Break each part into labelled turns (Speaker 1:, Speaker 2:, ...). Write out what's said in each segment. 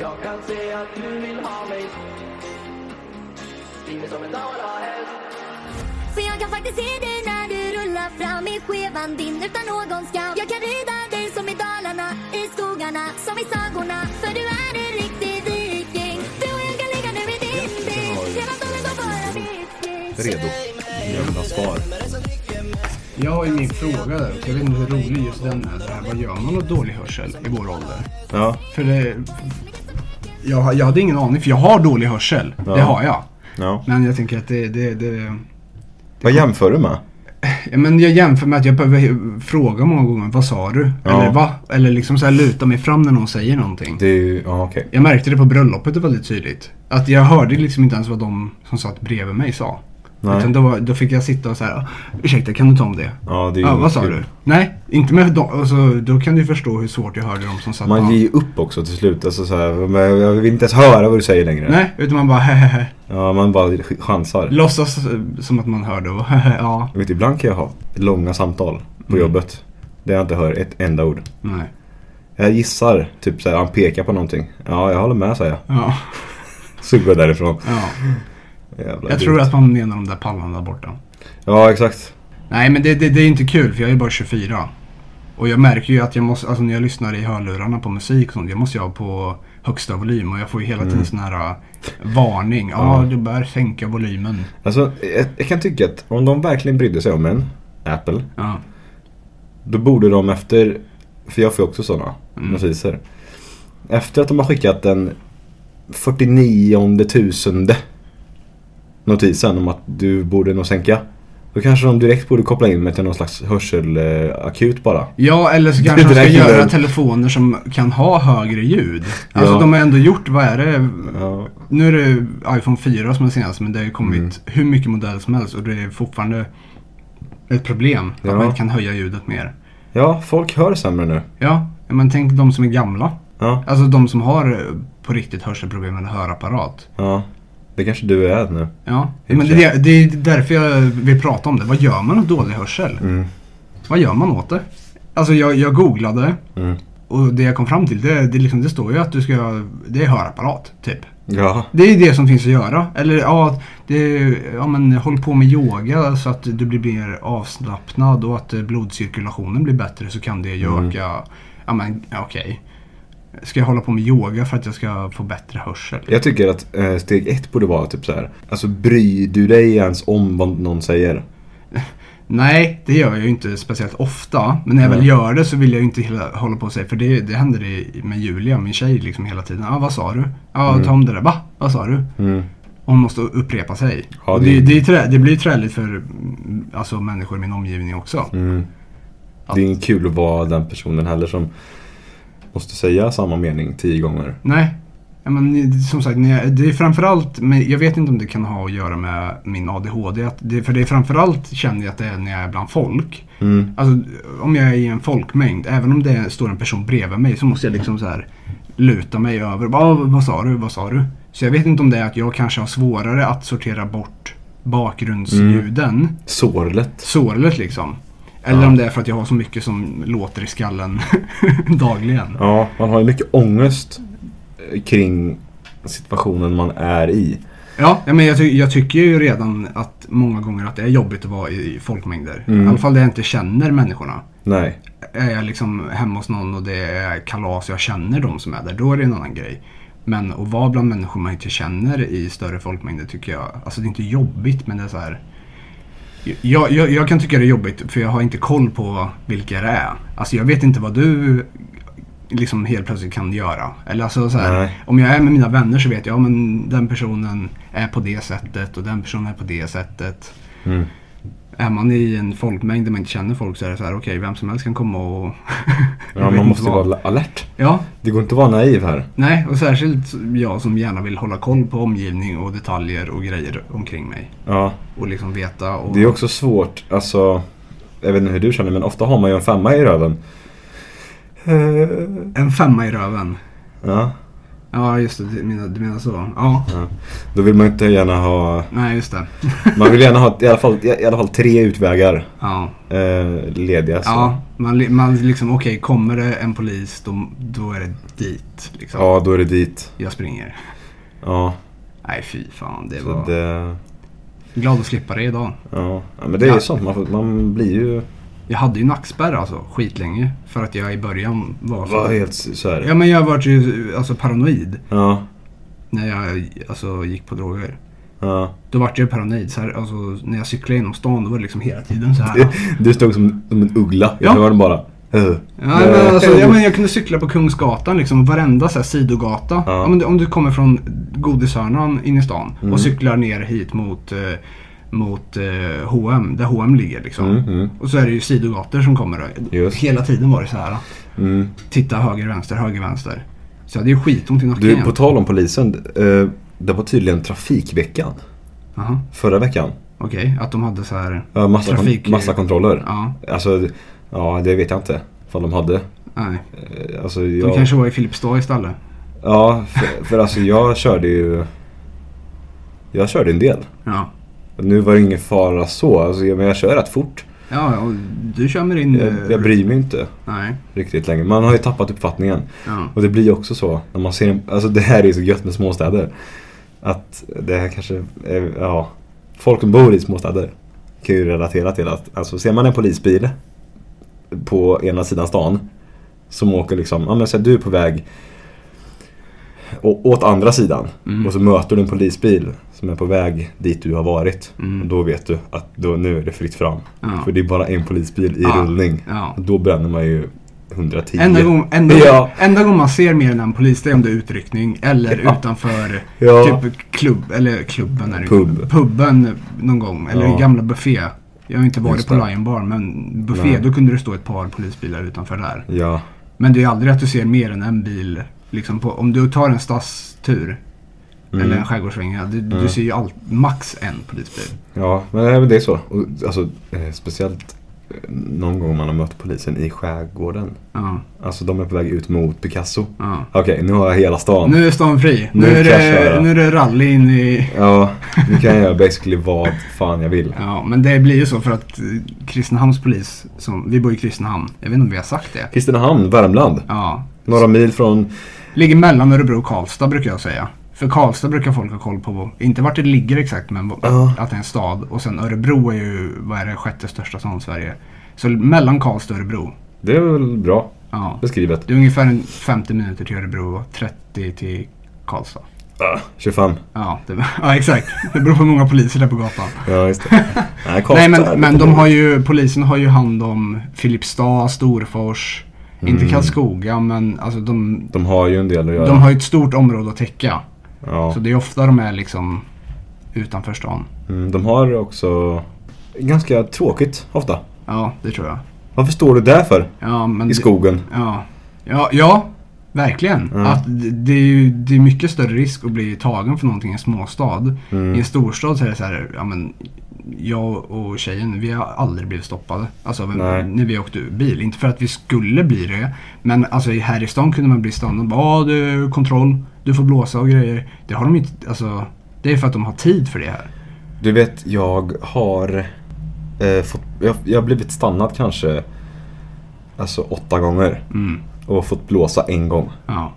Speaker 1: Jag kan se att du vill ha mig Stiger som en dalahäst
Speaker 2: För jag kan faktiskt se dig när du rullar fram i skevan din utan någon skam Jag kan rida dig som i Dalarna, i skogarna, som i sagorna För du är en riktig viking Du och jag kan ligga nu i din bil Hela dagen går bara viking
Speaker 3: Redo. Gömda svar.
Speaker 4: Jag har ju min fråga där och jag vet inte hur rolig just den är. Det här, vad gör man åt dålig hörsel i vår ålder?
Speaker 3: Ja.
Speaker 4: För det... Jag, jag hade ingen aning för jag har dålig hörsel.
Speaker 3: Ja.
Speaker 4: Det har jag.
Speaker 3: ja.
Speaker 4: Men jag tänker att det... det, det
Speaker 3: Vad jämför du med?
Speaker 4: ja, men jag jämför med att jag behöver fråga många gånger. Vad sa du?
Speaker 3: Ja.
Speaker 4: Eller va? Eller liksom så här luta mig fram när någon säger någonting.
Speaker 3: Det är ju, ja okej.
Speaker 4: Jag märkte det på bröllopet väldigt tydligt. Att jag hörde liksom inte ens vad de som satt bredvid mig sa.
Speaker 3: Nej.
Speaker 4: Utan då, var, då fick jag sitta och så här. Ursäkta, kan du ta om det?
Speaker 3: Ja, det är ju
Speaker 4: Ja, vad sa
Speaker 3: kul.
Speaker 4: du? Nej, inte med dem. Alltså, då kan du förstå hur svårt jag hörde de som satt
Speaker 3: Man
Speaker 4: bak.
Speaker 3: ger ju upp också till slut. Alltså så här, men jag vill inte ens höra vad du säger längre.
Speaker 4: Nej, utan man bara hehehe.
Speaker 3: Ja, man bara ch- chansar.
Speaker 4: Låtsas eh, som att man hörde och hehe, ja.
Speaker 3: Jag vet, ibland kan jag ha långa samtal på
Speaker 4: Mm.
Speaker 3: jobbet. Där jag inte hör ett enda ord.
Speaker 4: Nej.
Speaker 3: Jag gissar, typ så här, han pekar på någonting. Ja, jag håller med säger jag.
Speaker 4: Ja,
Speaker 3: Så går jag därifrån.
Speaker 4: ja.
Speaker 3: Jävla
Speaker 4: Jag
Speaker 3: dumt.
Speaker 4: tror att man menar de där pallarna där borta.
Speaker 3: Ja, exakt.
Speaker 4: Nej, men det, det, det är inte kul för jag är bara 24. Och jag märker ju att jag måste, alltså när jag lyssnar i hörlurarna på musik och sånt, det måste jag ha på högsta volym och jag får ju hela
Speaker 3: Mm.
Speaker 4: tiden sån här äh, varning. Ja, du bör sänka volymen.
Speaker 3: Alltså, jag, jag kan tycka att om de verkligen brydde sig om en, Apple,
Speaker 4: Ja,
Speaker 3: Då borde de efter, för jag får ju också sådana notiser. Efter att de har skickat den 49 tusende notisen om att du borde nog sänka. Då kanske de direkt borde koppla in mig till någon slags hörselakut bara.
Speaker 4: ja eller så kanske
Speaker 3: Det
Speaker 4: de ska
Speaker 3: där kan
Speaker 4: göra
Speaker 3: väl-
Speaker 4: telefoner som kan ha högre ljud. Alltså
Speaker 3: Ja.
Speaker 4: de har ändå gjort, vad är det?
Speaker 3: Ja,
Speaker 4: Nu är det iPhone 4 som är senast men det har ju kommit
Speaker 3: Mm.
Speaker 4: hur mycket modell som helst och det är fortfarande ett problem att
Speaker 3: Ja.
Speaker 4: man inte kan höja ljudet mer.
Speaker 3: ja folk hör sämre nu.
Speaker 4: Ja, men tänk de som är gamla.
Speaker 3: Ja,
Speaker 4: Alltså de som har eh, på riktigt hörselproblem eller hörapparat.
Speaker 3: ja. Det kanske du är nu.
Speaker 4: Ja,
Speaker 3: Helt
Speaker 4: men det, är- det är därför jag vill prata om det. Vad gör man åt dålig hörsel? Vad gör man åt det? Alltså jag, jag googlade och det jag kom fram till det, det, liksom, det står ju att du ska, det är hörapparat typ.
Speaker 3: Ja,
Speaker 4: Det är det som finns att göra. Eller ja, att det, ja men, håll på med yoga så att du blir mer avslappnad och att eh, blodcirkulationen blir bättre så kan det ju öka. Ja men ja, okej. Ska jag hålla på med yoga för att jag ska få bättre hörsel?
Speaker 3: jag tycker att eh, steg ett borde vara typ så här. Alltså bryr du dig ens om vad någon säger?
Speaker 4: Nej, det gör jag ju inte speciellt ofta. Men när jag väl gör det så vill jag ju inte hela, hålla på och säga. För det, det händer i, med Julia, min tjej, liksom hela tiden. Ja, ah, vad sa du? Ja,
Speaker 3: Mm.
Speaker 4: ta om det där. Va? Vad sa du? Och Hon måste upprepa sig.
Speaker 3: Ja,
Speaker 4: Och
Speaker 3: det-
Speaker 4: det, det, är trä, det blir träligt för mm, alltså, människor i min omgivning också.
Speaker 3: Mm. Det är inte kul att vara den personen heller som måste säga samma mening tio gånger.
Speaker 4: Nej. Ja, men som sagt, när jag- det är framförallt, men jag vet inte om det kan ha att göra med min ADHD. Att det, för det är framförallt känner jag att det är när jag är bland folk. Alltså om jag är i en folkmängd, även om det står en person bredvid mig så måste jag liksom så här luta mig över. Vad, vad sa du? Vad sa du? Så jag vet inte om det är att jag kanske har svårare att sortera bort bakgrundsljuden.
Speaker 3: Sorlet.
Speaker 4: Sorlet liksom. Eller om det är för att jag har så mycket som låter i skallen dagligen.
Speaker 3: Ja, man har ju mycket ångest eh, kring situationen man är i.
Speaker 4: Ja, ja, men jag, ty- jag tycker ju redan att många gånger att det är jobbigt att vara i, i folkmängder. I alla fall där jag inte känner människorna.
Speaker 3: Nej.
Speaker 4: Är jag liksom hemma hos någon och det är kalas och jag känner de som är där, då är det en annan grej. Men att vara bland människor man inte känner i större folkmängder tycker jag, alltså det är inte jobbigt men det är så här. Jag, jag, jag kan tycka det är jobbigt för jag har inte koll på vilka det är. Alltså jag vet inte vad du liksom helt plötsligt kan göra. Eller alltså så här,
Speaker 3: Nej.
Speaker 4: om jag är med mina vänner så vet jag, ja men den personen är på det sättet och den personen är på det sättet. Är man i en folkmängd där man inte känner folk så är det så här, okej vem som helst kan komma och... Jag
Speaker 3: Ja, man
Speaker 4: vet inte
Speaker 3: måste
Speaker 4: vad.
Speaker 3: vara alert.
Speaker 4: Ja,
Speaker 3: Det går inte att vara naiv här.
Speaker 4: nej och särskilt jag som gärna vill hålla koll på omgivning och detaljer och grejer omkring mig.
Speaker 3: Ja.
Speaker 4: Och liksom veta och...
Speaker 3: Det är också svårt, alltså. Jag vet inte hur du känner men ofta har man ju en femma i röven.
Speaker 4: En femma i röven.
Speaker 3: Ja.
Speaker 4: Ja, just det. Du menar, du menar så. Ja.
Speaker 3: Ja. Då vill man inte gärna ha...
Speaker 4: Nej, just det.
Speaker 3: Man vill gärna ha i alla fall, i alla fall tre utvägar
Speaker 4: Ja.
Speaker 3: eh, lediga. Så.
Speaker 4: Ja, man, li- man liksom okej, kommer det en polis då, då är det dit. Liksom.
Speaker 3: ja, då är det dit.
Speaker 4: Jag springer.
Speaker 3: Ja,
Speaker 4: Nej, fy fan. Det
Speaker 3: så
Speaker 4: var...
Speaker 3: det...
Speaker 4: Glad att slippa det idag.
Speaker 3: Ja. ja, men det är ju
Speaker 4: Ja.
Speaker 3: sånt. Man, får, man blir ju...
Speaker 4: Jag hade ju nackspärr alltså skitlänge. För att jag i början var
Speaker 3: Var
Speaker 4: så.
Speaker 3: helt så här.
Speaker 4: Ja men jag vart ju alltså paranoid.
Speaker 3: Ja,
Speaker 4: När jag alltså, gick på droger.
Speaker 3: ja.
Speaker 4: Då vart jag paranoid. Så här, alltså, när jag cyklade genom stan då var det liksom hela tiden så här.
Speaker 3: Du stod som, som en uggla. Jag
Speaker 4: Ja.
Speaker 3: hörde bara... eh.
Speaker 4: Ja, men alltså, ja, men jag kunde cykla på Kungsgatan liksom. Varenda så här, sidogata.
Speaker 3: Ja. Mm.
Speaker 4: Ja, men, om du kommer från Godishörnan in i stan. Och cyklar ner hit mot eh, mot eh, H&M där H&M ligger liksom.
Speaker 3: Mm, mm.
Speaker 4: Och så är det ju sidogator som kommer.
Speaker 3: Just.
Speaker 4: Hela tiden var det så här.
Speaker 3: Mm.
Speaker 4: titta höger, vänster, höger, vänster. Så jag hade ju skitont i nacken
Speaker 3: Du,
Speaker 4: igen.
Speaker 3: på tal om polisen. Eh, det var tydligen trafikveckan
Speaker 4: Jaha,
Speaker 3: förra veckan.
Speaker 4: Okej, att de hade så här...
Speaker 3: Ja, massa, kon-
Speaker 4: Trafik-
Speaker 3: massa kontroller.
Speaker 4: Ja,
Speaker 3: Alltså, ja det vet jag inte. Ifall de hade.
Speaker 4: nej.
Speaker 3: Eh, Alltså,
Speaker 4: De
Speaker 3: jag...
Speaker 4: kanske var i Filipstad istället.
Speaker 3: Ja, för, för alltså jag körde ju... Jag körde en del.
Speaker 4: Ja.
Speaker 3: Nu var det ingen fara så, alltså, jag- men jag kör rätt fort.
Speaker 4: Ja, och du kör med din... eh,
Speaker 3: Jag, jag bryr mig inte
Speaker 4: Nej.
Speaker 3: riktigt längre. Man har ju tappat uppfattningen.
Speaker 4: Ja.
Speaker 3: Och det blir ju också så när man ser en, Alltså det här är så gött med småstäder. Att det här kanske är, ja. Folk som bor i småstäder kan ju relatera till att, alltså ser man en polisbil på ena sidan stan som åker liksom, ja men säg du är på väg å- åt andra sidan
Speaker 4: Mm.
Speaker 3: och så möter du en polisbil som är på väg dit du har varit. Och då vet du att då, nu är det fritt fram.
Speaker 4: Mm. Ja.
Speaker 3: För det är bara en polisbil i
Speaker 4: Ja.
Speaker 3: rullning.
Speaker 4: Ja.
Speaker 3: Då bränner man ju 110.
Speaker 4: Enda, gång, enda,
Speaker 3: Ja.
Speaker 4: enda gång man ser mer än en polis det är om det är utryckning eller utanför
Speaker 3: Ja.
Speaker 4: typ klubb, eller klubben är det ju.
Speaker 3: Pub.
Speaker 4: Puben någon gång, eller
Speaker 3: Ja.
Speaker 4: gamla buffé. Jag har inte varit
Speaker 3: Just
Speaker 4: på
Speaker 3: det.
Speaker 4: Lion Bar men buffé,
Speaker 3: Nej.
Speaker 4: då kunde det stå ett par polisbilar utanför där.
Speaker 3: Ja.
Speaker 4: Men det är aldrig att du ser mer än en bil. Liksom på, om du tar en stadstur
Speaker 3: Mm.
Speaker 4: eller en skärgårdssvänga. Du, du ser ju all, max en polisbil.
Speaker 3: Ja, men nej, men det är så. Och, alltså, eh, speciellt eh, någon gång man har mött polisen i skärgården.
Speaker 4: Ja,
Speaker 3: Alltså de är på väg ut mot Picasso.
Speaker 4: ja.
Speaker 3: Okej, nu har jag hela stan.
Speaker 4: Nu är stan fri. Nu,
Speaker 3: Nu
Speaker 4: är,
Speaker 3: kraschar
Speaker 4: det,
Speaker 3: jag.
Speaker 4: nu är det rally in i...
Speaker 3: Ja, nu kan jag göra basically vad fan jag vill.
Speaker 4: Ja, men det blir ju så för att eh, Kristinehamns polis, som, vi bor i Kristinehamn. Jag vet inte om vi har sagt det.
Speaker 3: Kristinehamn, Värmland.
Speaker 4: Ja.
Speaker 3: Några mil från...
Speaker 4: Ligger mellan Örebro och Karlstad brukar jag säga. För Karlstad brukar folk ha koll på, inte vart det ligger exakt men
Speaker 3: Ja.
Speaker 4: att det är en stad. Och sen Örebro är ju, vad är det, sjätte största staden i Sverige. Så mellan Karlstad och Örebro.
Speaker 3: Det är väl bra
Speaker 4: Ja.
Speaker 3: beskrivet.
Speaker 4: Det är ungefär en 50 minuter till Örebro och 30 till Karlstad.
Speaker 3: Ah, 25.
Speaker 4: Ja, det, ja exakt. Det beror på hur många poliser det är på gatan.
Speaker 3: Ja, just det. Nej, Karlstad.
Speaker 4: Nej
Speaker 3: är
Speaker 4: men, men
Speaker 3: lite
Speaker 4: de
Speaker 3: bra.
Speaker 4: har ju, polisen har ju hand om Filipstad, Storfors, inte
Speaker 3: Mm.
Speaker 4: Karlskoga men alltså de,
Speaker 3: De har ju en del att göra.
Speaker 4: de har ju ett stort område att täcka.
Speaker 3: ja.
Speaker 4: Så det är ofta de är liksom utanför stan.
Speaker 3: mm, de har också ganska tråkigt ofta.
Speaker 4: Ja, det tror jag.
Speaker 3: Varför står du där för?
Speaker 4: Ja, men
Speaker 3: I
Speaker 4: det-
Speaker 3: skogen.
Speaker 4: Ja, ja, ja verkligen.
Speaker 3: Mm.
Speaker 4: Att det, det är ju det är mycket större risk att bli tagen för någonting i en småstad.
Speaker 3: Mm.
Speaker 4: I en storstad så är det så här, ja men jag och tjejen, vi har aldrig blivit stoppade. Alltså men-
Speaker 3: Nej.
Speaker 4: när vi åkte bil. Inte för att vi skulle bli det. Men alltså i- här i stan kunde man bli stannad. Ja du, kontroll. Du får blåsa och grejer. Det har de inte, alltså. Det är för att de har tid för det här.
Speaker 3: Du vet, jag har eh, fått, jag, jag har blivit stannad kanske alltså åtta gånger.
Speaker 4: Mm.
Speaker 3: Och fått blåsa en gång.
Speaker 4: Ja.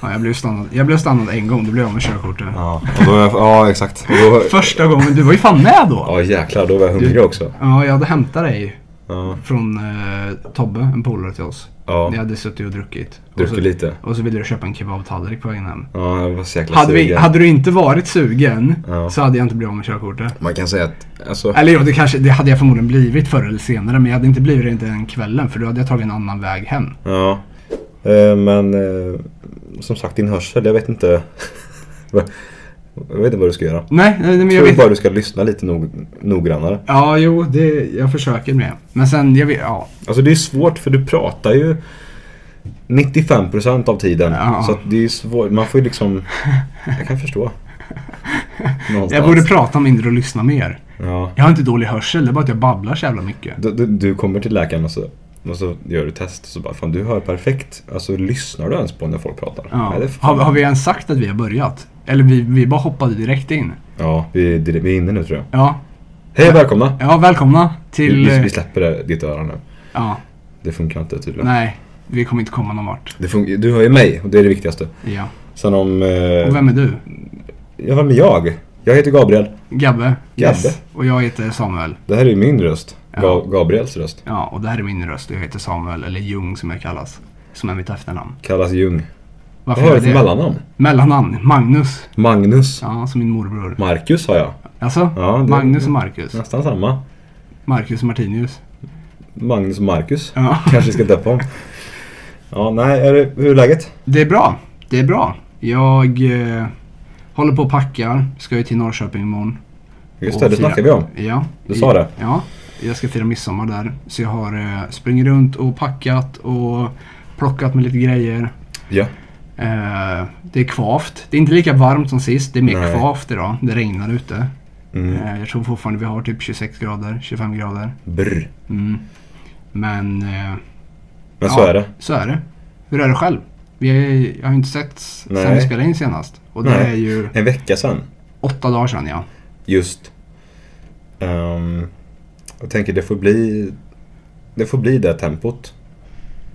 Speaker 4: ja jag, blev stannad, jag blev stannad en gång, då blev jag av med körkortet.
Speaker 3: Ja, och då, ja exakt. Och då,
Speaker 4: Första gången, du var ju fan med då!
Speaker 3: ja jäklar, då var jag hungrig också.
Speaker 4: Ja, jag hade hämtat dig
Speaker 3: Ja,
Speaker 4: från eh, Tobbe, en polare till oss.
Speaker 3: Ja.
Speaker 4: Vi hade suttit och druckit.
Speaker 3: Druckit
Speaker 4: och så,
Speaker 3: lite.
Speaker 4: Och så ville du köpa en kebabtallrik på vägen hem.
Speaker 3: ja jag var så jäkla
Speaker 4: Hade, vi,
Speaker 3: sugen.
Speaker 4: hade du inte varit sugen
Speaker 3: Ja.
Speaker 4: så hade jag inte blivit av med körkortet.
Speaker 3: Man kan säga att, alltså,
Speaker 4: Eller jo, det, kanske, det hade jag förmodligen blivit förr eller senare. Men jag hade inte blivit det inte den kvällen för då hade jag tagit en annan väg hem.
Speaker 3: ja. Eh, men eh, som sagt, din hörsel, jag vet inte. vad- jag vet inte vad du ska göra.
Speaker 4: Nej, nej men jag
Speaker 3: Jag tror
Speaker 4: vet.
Speaker 3: bara du ska lyssna lite nog, noggrannare.
Speaker 4: Ja, jo, det, jag försöker med. Men sen, jag vet, ja.
Speaker 3: Alltså det är svårt för du pratar ju 95% av tiden.
Speaker 4: Ja.
Speaker 3: Så att det är svårt. Man får ju liksom... Jag kan förstå. Någonstans.
Speaker 4: Jag borde prata mindre och lyssna mer.
Speaker 3: Ja.
Speaker 4: Jag har inte dålig hörsel, det är bara att jag babblar så jävla mycket.
Speaker 3: Du, du, du kommer till läkaren och så... Och så gör du test och så bara, fan du hör perfekt. Alltså lyssnar du ens på när folk pratar? Nej,
Speaker 4: Ja.
Speaker 3: det är för
Speaker 4: Har,
Speaker 3: fan-
Speaker 4: har vi ens sagt att vi har börjat? Eller vi, vi bara hoppade direkt in.
Speaker 3: Ja, vi, det- vi är inne nu tror jag.
Speaker 4: Ja,
Speaker 3: Hej och välkomna!
Speaker 4: ja välkomna
Speaker 3: Vi,
Speaker 4: till...
Speaker 3: vi, vi
Speaker 4: eh,
Speaker 3: släpper det, ditt öra nu.
Speaker 4: Ja,
Speaker 3: Det funkar inte tydligen.
Speaker 4: nej. Vi kommer inte komma någon vart.
Speaker 3: Det fun- du hör ju mig och det är det viktigaste.
Speaker 4: Ja.
Speaker 3: Sen om... Eh,
Speaker 4: Och vem är du?
Speaker 3: Ja, vem är jag? Jag heter Gabriel.
Speaker 4: Gabbe.
Speaker 3: Gabbe.
Speaker 4: Och jag heter Samuel.
Speaker 3: Det här är min röst.
Speaker 4: Ja.
Speaker 3: Ga- Gabriels röst.
Speaker 4: Ja, och det här är min röst. Jag heter Samuel, eller Ljung som jag kallas. Som är mitt efternamn.
Speaker 3: Kallas Ljung.
Speaker 4: Varför
Speaker 3: Vad har
Speaker 4: gör
Speaker 3: du
Speaker 4: jag
Speaker 3: för
Speaker 4: det?
Speaker 3: mellannamn?
Speaker 4: Mellannamn. Magnus.
Speaker 3: Magnus.
Speaker 4: Ja, som min morbror.
Speaker 3: Marcus har jag.
Speaker 4: Alltså?
Speaker 3: Ja, det-
Speaker 4: Magnus och Marcus.
Speaker 3: Nästan samma.
Speaker 4: Marcus Martinius.
Speaker 3: Magnus och Marcus.
Speaker 4: Ja.
Speaker 3: Kanske ska döpa om. Ja, nej, är det, hur är läget?
Speaker 4: Det är bra. Det är bra. Jag eh, håller på och packar. Ska ju till Norrköping imorgon.
Speaker 3: Just
Speaker 4: Och
Speaker 3: det, det
Speaker 4: fira-
Speaker 3: snackade vi om.
Speaker 4: Ja.
Speaker 3: Du sa det.
Speaker 4: Ja. Jag ska fira midsommar där. Så jag har eh, sprungit runt och packat och plockat med lite grejer.
Speaker 3: Ja.
Speaker 4: Eh, det är kvavt. Det är inte lika varmt som sist. Det är mer
Speaker 3: Nej.
Speaker 4: kvavt idag. Det regnar ute.
Speaker 3: Mm.
Speaker 4: Eh, jag tror fortfarande vi har typ 26 grader, 25 grader.
Speaker 3: Brr.
Speaker 4: Mm. Men eh,
Speaker 3: Men så
Speaker 4: ja,
Speaker 3: är det.
Speaker 4: Så är det. Hur är det själv? Vi är, jag har inte sett sen
Speaker 3: Nej.
Speaker 4: vi spelade in senast. Och det
Speaker 3: Nej.
Speaker 4: är ju
Speaker 3: En vecka sedan,
Speaker 4: åtta dagar sedan ja.
Speaker 3: just. Ehm, jag tänker det får bli det får bli det tempot.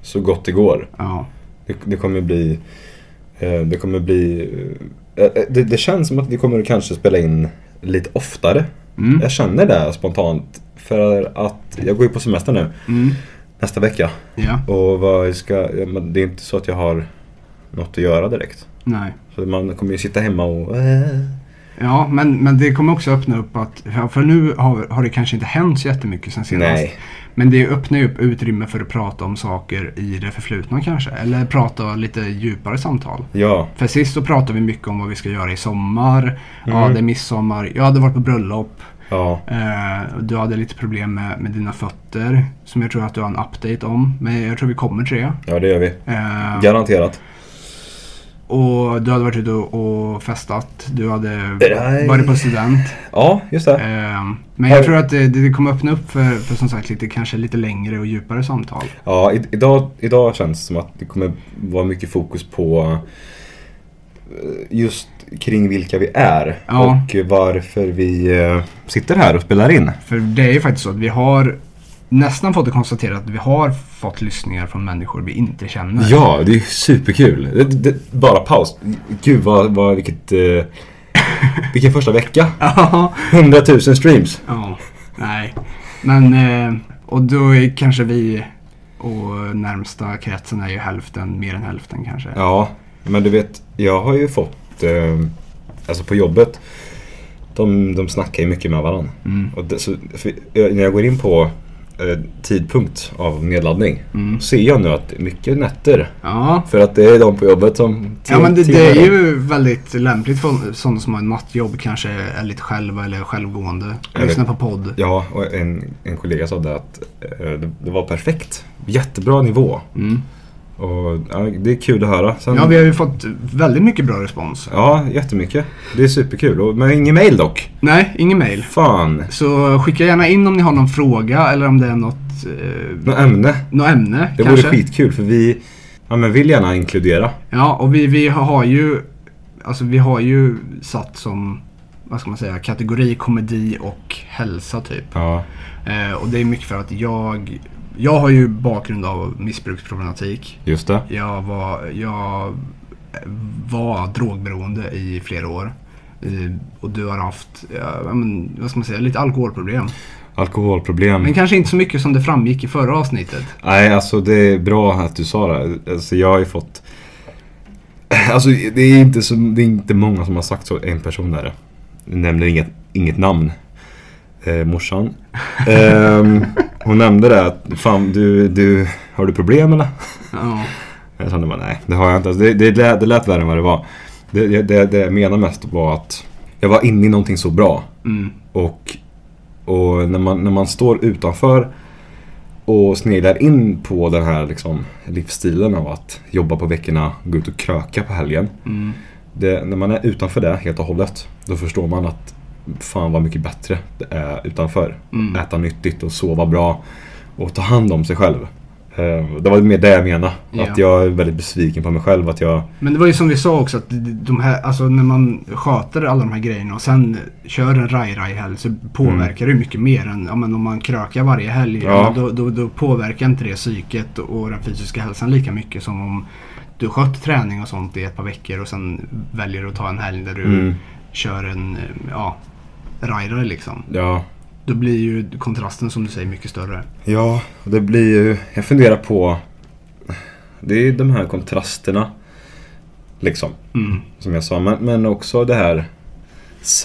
Speaker 3: Så gott det går.
Speaker 4: ja.
Speaker 3: Det, det kommer bli... eh, Det kommer bli... eh, eh, Det, det känns som att vi kommer kanske spela in lite oftare.
Speaker 4: Mm.
Speaker 3: Jag känner det spontant. För att jag går ju på semester nu
Speaker 4: Mm.
Speaker 3: nästa vecka.
Speaker 4: Ja.
Speaker 3: Och vad jag ska... ja, men Det är inte så att jag har något att göra direkt.
Speaker 4: Nej.
Speaker 3: Så man kommer ju sitta hemma och... eh,
Speaker 4: Ja, men, men det kommer också öppna upp att, för nu har, har det kanske inte hänt så jättemycket sen senast.
Speaker 3: Nej.
Speaker 4: Men det öppnar ju upp utrymme för att prata om saker i det förflutna kanske. Eller prata lite djupare samtal.
Speaker 3: Ja.
Speaker 4: För sist så pratade vi mycket om vad vi ska göra i sommar. Ja,
Speaker 3: Mm.
Speaker 4: det är midsommar. Jag hade varit på bröllop.
Speaker 3: Ja.
Speaker 4: Eh, du hade lite problem med, med dina fötter. Som jag tror att du har en update om. Men jag tror vi kommer till det.
Speaker 3: Ja, det gör vi.
Speaker 4: Eh,
Speaker 3: Garanterat.
Speaker 4: Och du hade varit ute och, och festat. Du hade
Speaker 3: Nej.
Speaker 4: varit på student.
Speaker 3: Ja, just det.
Speaker 4: Ehm, Men
Speaker 3: Har-
Speaker 4: jag tror att det, det kommer öppna upp för, för som sagt lite, kanske lite längre och djupare samtal.
Speaker 3: Ja, i, idag, idag känns det som att det kommer vara mycket fokus på eh, just kring vilka vi är
Speaker 4: Ja.
Speaker 3: och varför vi eh, sitter här och spelar in.
Speaker 4: För det är ju faktiskt så att vi har nästan fått det konstaterat att vi har fått lyssningar från människor vi inte känner.
Speaker 3: Ja, det är superkul. Det, det, bara paus. Gud, vad, vad, vilket, eh, vilken första vecka.
Speaker 4: Ja.
Speaker 3: 100 000 streams.
Speaker 4: ja. Nej. Men, eh, och då är kanske vi och närmsta kretsen är ju hälften, mer än hälften kanske.
Speaker 3: Ja, men du vet, jag har ju fått, eh, alltså på jobbet, de, de snackar ju mycket med varandra.
Speaker 4: Mm.
Speaker 3: Och det, så, för, jag- när jag går in på eh, tidpunkt av nedladdning
Speaker 4: Mm.
Speaker 3: ser jag nu att det är mycket nätter.
Speaker 4: Ja.
Speaker 3: För att det är de på jobbet som...
Speaker 4: Ja men det,
Speaker 3: till-
Speaker 4: det är ju väldigt lämpligt för sådana som har nattjobb kanske är lite själva eller självgående.
Speaker 3: Jag
Speaker 4: Lyssna på podd.
Speaker 3: Ja, och en, en kollega sa det att eh, det, det var perfekt. Jättebra nivå.
Speaker 4: Mm.
Speaker 3: Och ja, det är kul att höra. Sen,
Speaker 4: Ja, vi har ju fått väldigt mycket bra respons.
Speaker 3: ja, jättemycket. Det är superkul. Och, men ingen mail dock.
Speaker 4: Nej, ingen mail.
Speaker 3: Fan.
Speaker 4: Så skicka gärna in om ni har någon fråga eller om det är något, eh,
Speaker 3: Något ämne.
Speaker 4: något ämne
Speaker 3: Det
Speaker 4: kanske.
Speaker 3: vore skitkul för vi ja, men vill gärna inkludera.
Speaker 4: Ja, och vi, vi har ju alltså vi har ju satt som vad ska man säga, kategori komedi och hälsa typ.
Speaker 3: Ja.
Speaker 4: Eh, och det är mycket för att jag, jag har ju bakgrund av missbruksproblematik.
Speaker 3: Just det.
Speaker 4: Jag var, jag var drogberoende i flera år. Eh, Och du har haft, ja, ja, men, vad ska man säga, lite alkoholproblem.
Speaker 3: Alkoholproblem.
Speaker 4: Men kanske inte så mycket som det framgick i förra avsnittet.
Speaker 3: Nej, alltså det är bra att du sa det. Alltså jag har ju fått... Alltså det är inte, så, det är inte många som har sagt så. En person är det. Jag nämner inget, inget namn. Eh, morsan. Ehm, hon nämnde det att fan du, du, har du problem eller?
Speaker 4: Ja,
Speaker 3: Jag kände bara nej, det har jag inte. Alltså, det, det, lät, det lät värre än vad det var. Det, det, det jag menade mest var att jag var inne i någonting så bra.
Speaker 4: mm,
Speaker 3: Och, och när, man, när man står utanför och sneglar in på den här liksom, livsstilen av att jobba på veckorna, gå ut och kröka på helgen.
Speaker 4: mm,
Speaker 3: Det, när man är utanför det helt och hållet, då förstår man att fan vad mycket bättre det är utanför.
Speaker 4: Mm.
Speaker 3: Äta nyttigt och sova bra och ta hand om sig själv. Eh, Det var mer det jag menade.
Speaker 4: Ja.
Speaker 3: Att jag är väldigt besviken på mig själv. Att jag,
Speaker 4: Men det var ju som vi sa också att de här, alltså när man sköter alla de här grejerna och sen kör en raj-raj-helg så påverkar det ju mycket mer än ja, men om man krökar varje helg.
Speaker 3: Mm. Ja.
Speaker 4: Då, då, då påverkar inte det psyket och den fysiska hälsan lika mycket som om du skött träning och sånt i ett par veckor och sen väljer att ta en helg där du
Speaker 3: Mm.
Speaker 4: kör en ja, raj-raj liksom.
Speaker 3: ja,
Speaker 4: Då blir ju kontrasten som du säger mycket större.
Speaker 3: Ja, och det blir ju... Jag funderar på... Det är ju de här kontrasterna. Liksom,
Speaker 4: Mm.
Speaker 3: som jag sa. Men, men också det här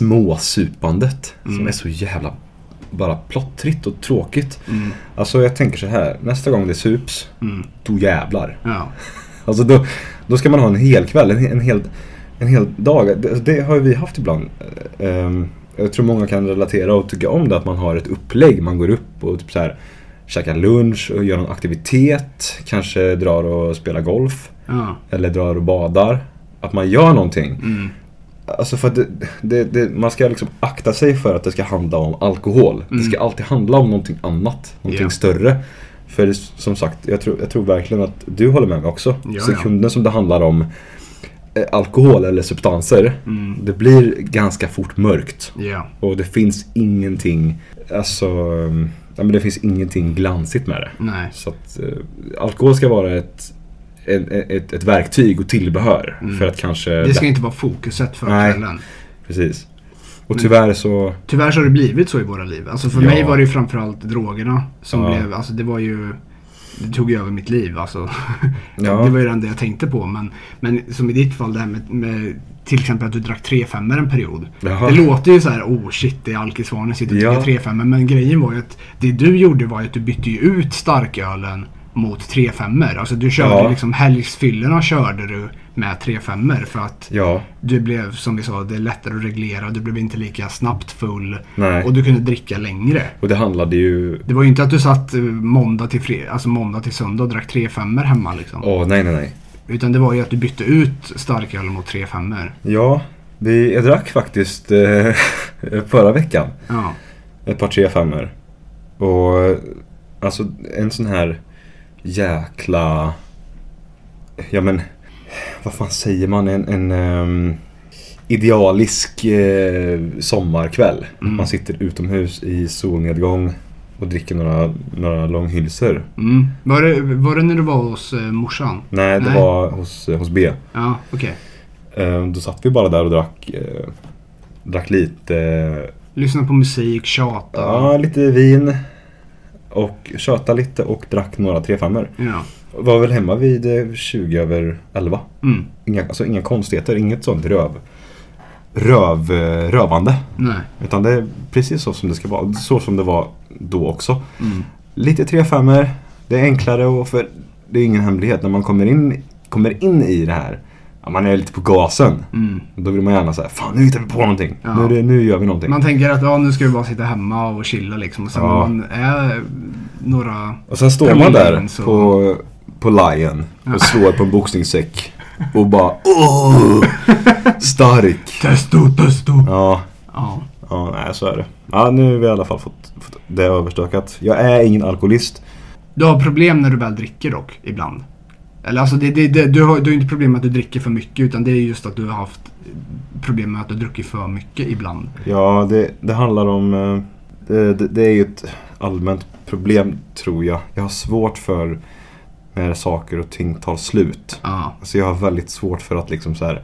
Speaker 3: småsupandet. Som är så jävla bara plottrigt och tråkigt.
Speaker 4: Mm.
Speaker 3: Alltså jag tänker så här. Nästa gång det sups,
Speaker 4: Mm.
Speaker 3: då jävlar.
Speaker 4: Ja.
Speaker 3: Alltså då, då ska man ha en hel kväll, en, he- en, hel, en hel dag. Det, alltså, det har ju vi haft ibland. Eh, ehm, jag tror många kan relatera och tycka om det, att man har ett upplägg. Man går upp och typ så här, käkar lunch och gör någon aktivitet. Kanske drar och spelar golf.
Speaker 4: ja.
Speaker 3: Eller drar och badar. Att man gör någonting.
Speaker 4: Mm.
Speaker 3: Alltså för att det, det, det, man ska liksom akta sig för att det ska handla om alkohol. Det ska alltid handla om någonting annat. Någonting
Speaker 4: Mm. Ja.
Speaker 3: större. För det, som sagt, jag tror, jag tror verkligen att du håller med mig också.
Speaker 4: Ja,
Speaker 3: Sekunden som det handlar om eh, alkohol eller substanser. Det blir ganska fort mörkt.
Speaker 4: Mm. Ja.
Speaker 3: Och det finns ingenting, alltså, eh, ja, men det finns ingenting glansigt med det.
Speaker 4: Nej.
Speaker 3: Så att eh, alkohol ska vara ett, en- ett, ett verktyg och tillbehör för att kanske
Speaker 4: Mm. Det ska inte vara fokuset för
Speaker 3: Nej.
Speaker 4: kvällen.
Speaker 3: Precis.
Speaker 4: Mm.
Speaker 3: Och tyvärr så...
Speaker 4: Tyvärr så har det blivit så i våra liv. Alltså för
Speaker 3: Ja.
Speaker 4: mig var det ju framförallt drogerna som
Speaker 3: Ja.
Speaker 4: blev, alltså det var ju, det tog ju över mitt liv alltså.
Speaker 3: Ja.
Speaker 4: Det var ju det enda jag tänkte på. Men, men som i ditt fall det här med, med till exempel att du drack 3 5 en period.
Speaker 3: Jaha.
Speaker 4: Det låter ju så här, oh shit det är alkisvanen sitter och
Speaker 3: Ja.
Speaker 4: dricker 3 5 Men grejen var ju att det du gjorde var ju att du bytte ju ut starkölen mot 3 5 Alltså du körde
Speaker 3: Ja.
Speaker 4: liksom helgfyllorna körde du med 3 5 för att
Speaker 3: Ja.
Speaker 4: du blev som vi sa, det är lättare att reglera. Du blev inte lika snabbt full.
Speaker 3: Nej.
Speaker 4: Och du kunde dricka längre.
Speaker 3: Och det handlade ju...
Speaker 4: Det var ju inte att du satt eh, måndag till, fred- alltså måndag till söndag och drack 3 5 hemma. Liksom.
Speaker 3: Åh, nej, nej, nej.
Speaker 4: Utan det var ju att du bytte ut starköl mot 3 5
Speaker 3: Ja, vi, jag drack faktiskt eh, förra veckan
Speaker 4: Ja.
Speaker 3: ett par tre femmor. Och eh, alltså en sån här jäkla... Ja men, vad fan säger man? En, en ehm, idealisk eh, sommarkväll. Man sitter utomhus i solnedgång och dricker några, några långhylsor.
Speaker 4: Mm. Var, det, var det när du var hos eh, morsan?
Speaker 3: Nej, det
Speaker 4: Nej.
Speaker 3: var hos, hos B.
Speaker 4: Ja, okej.
Speaker 3: Eh, Då satt vi bara där och drack, eh, drack lite, eh,
Speaker 4: Lyssna på musik, tjata.
Speaker 3: ja, lite vin och tjötade lite och drack några trefemmor.
Speaker 4: Ja.
Speaker 3: Var väl hemma vid eh, 20 över 11.
Speaker 4: Mm.
Speaker 3: Inga, alltså inga konstigheter, inget sånt röv, röv, eh, rövande.
Speaker 4: Nej.
Speaker 3: Utan det är precis så som det ska vara, så som det var då också.
Speaker 4: Mm.
Speaker 3: Lite trefemmor, det är enklare och för det är ingen hemlighet när man kommer in, kommer in i det här. Ja, man är lite på gasen.
Speaker 4: Mm.
Speaker 3: Då vill man gärna säga, fan nu hittar vi på någonting.
Speaker 4: Ja.
Speaker 3: Nu, är det- nu gör vi någonting.
Speaker 4: Man tänker att ja, nu ska vi bara sitta hemma och chilla liksom. Och sen
Speaker 3: Ja.
Speaker 4: när man är några...
Speaker 3: och sen står
Speaker 4: Kan
Speaker 3: man
Speaker 4: man
Speaker 3: där
Speaker 4: in så-
Speaker 3: på, på Lion och slår på en boxningssäck. Och bara, åh, stark.
Speaker 4: Testo, testo!
Speaker 3: Ja,
Speaker 4: Ja.
Speaker 3: ja nej, så är det. Ja, nu har vi i alla fall fått, fått det överstökat. Jag är ingen alkoholist.
Speaker 4: Du har problem när du väl dricker dock, ibland. Eller alltså, det, det, det, du har ju inte problem med att du dricker för mycket utan det är just att du har haft problem med att du har druckit för mycket ibland.
Speaker 3: Ja, det, det handlar om... eh, Det, det, det är ju ett allmänt problem tror jag. Jag har svårt för när saker och ting tar slut.
Speaker 4: Ja.
Speaker 3: Alltså jag har väldigt svårt för att liksom så här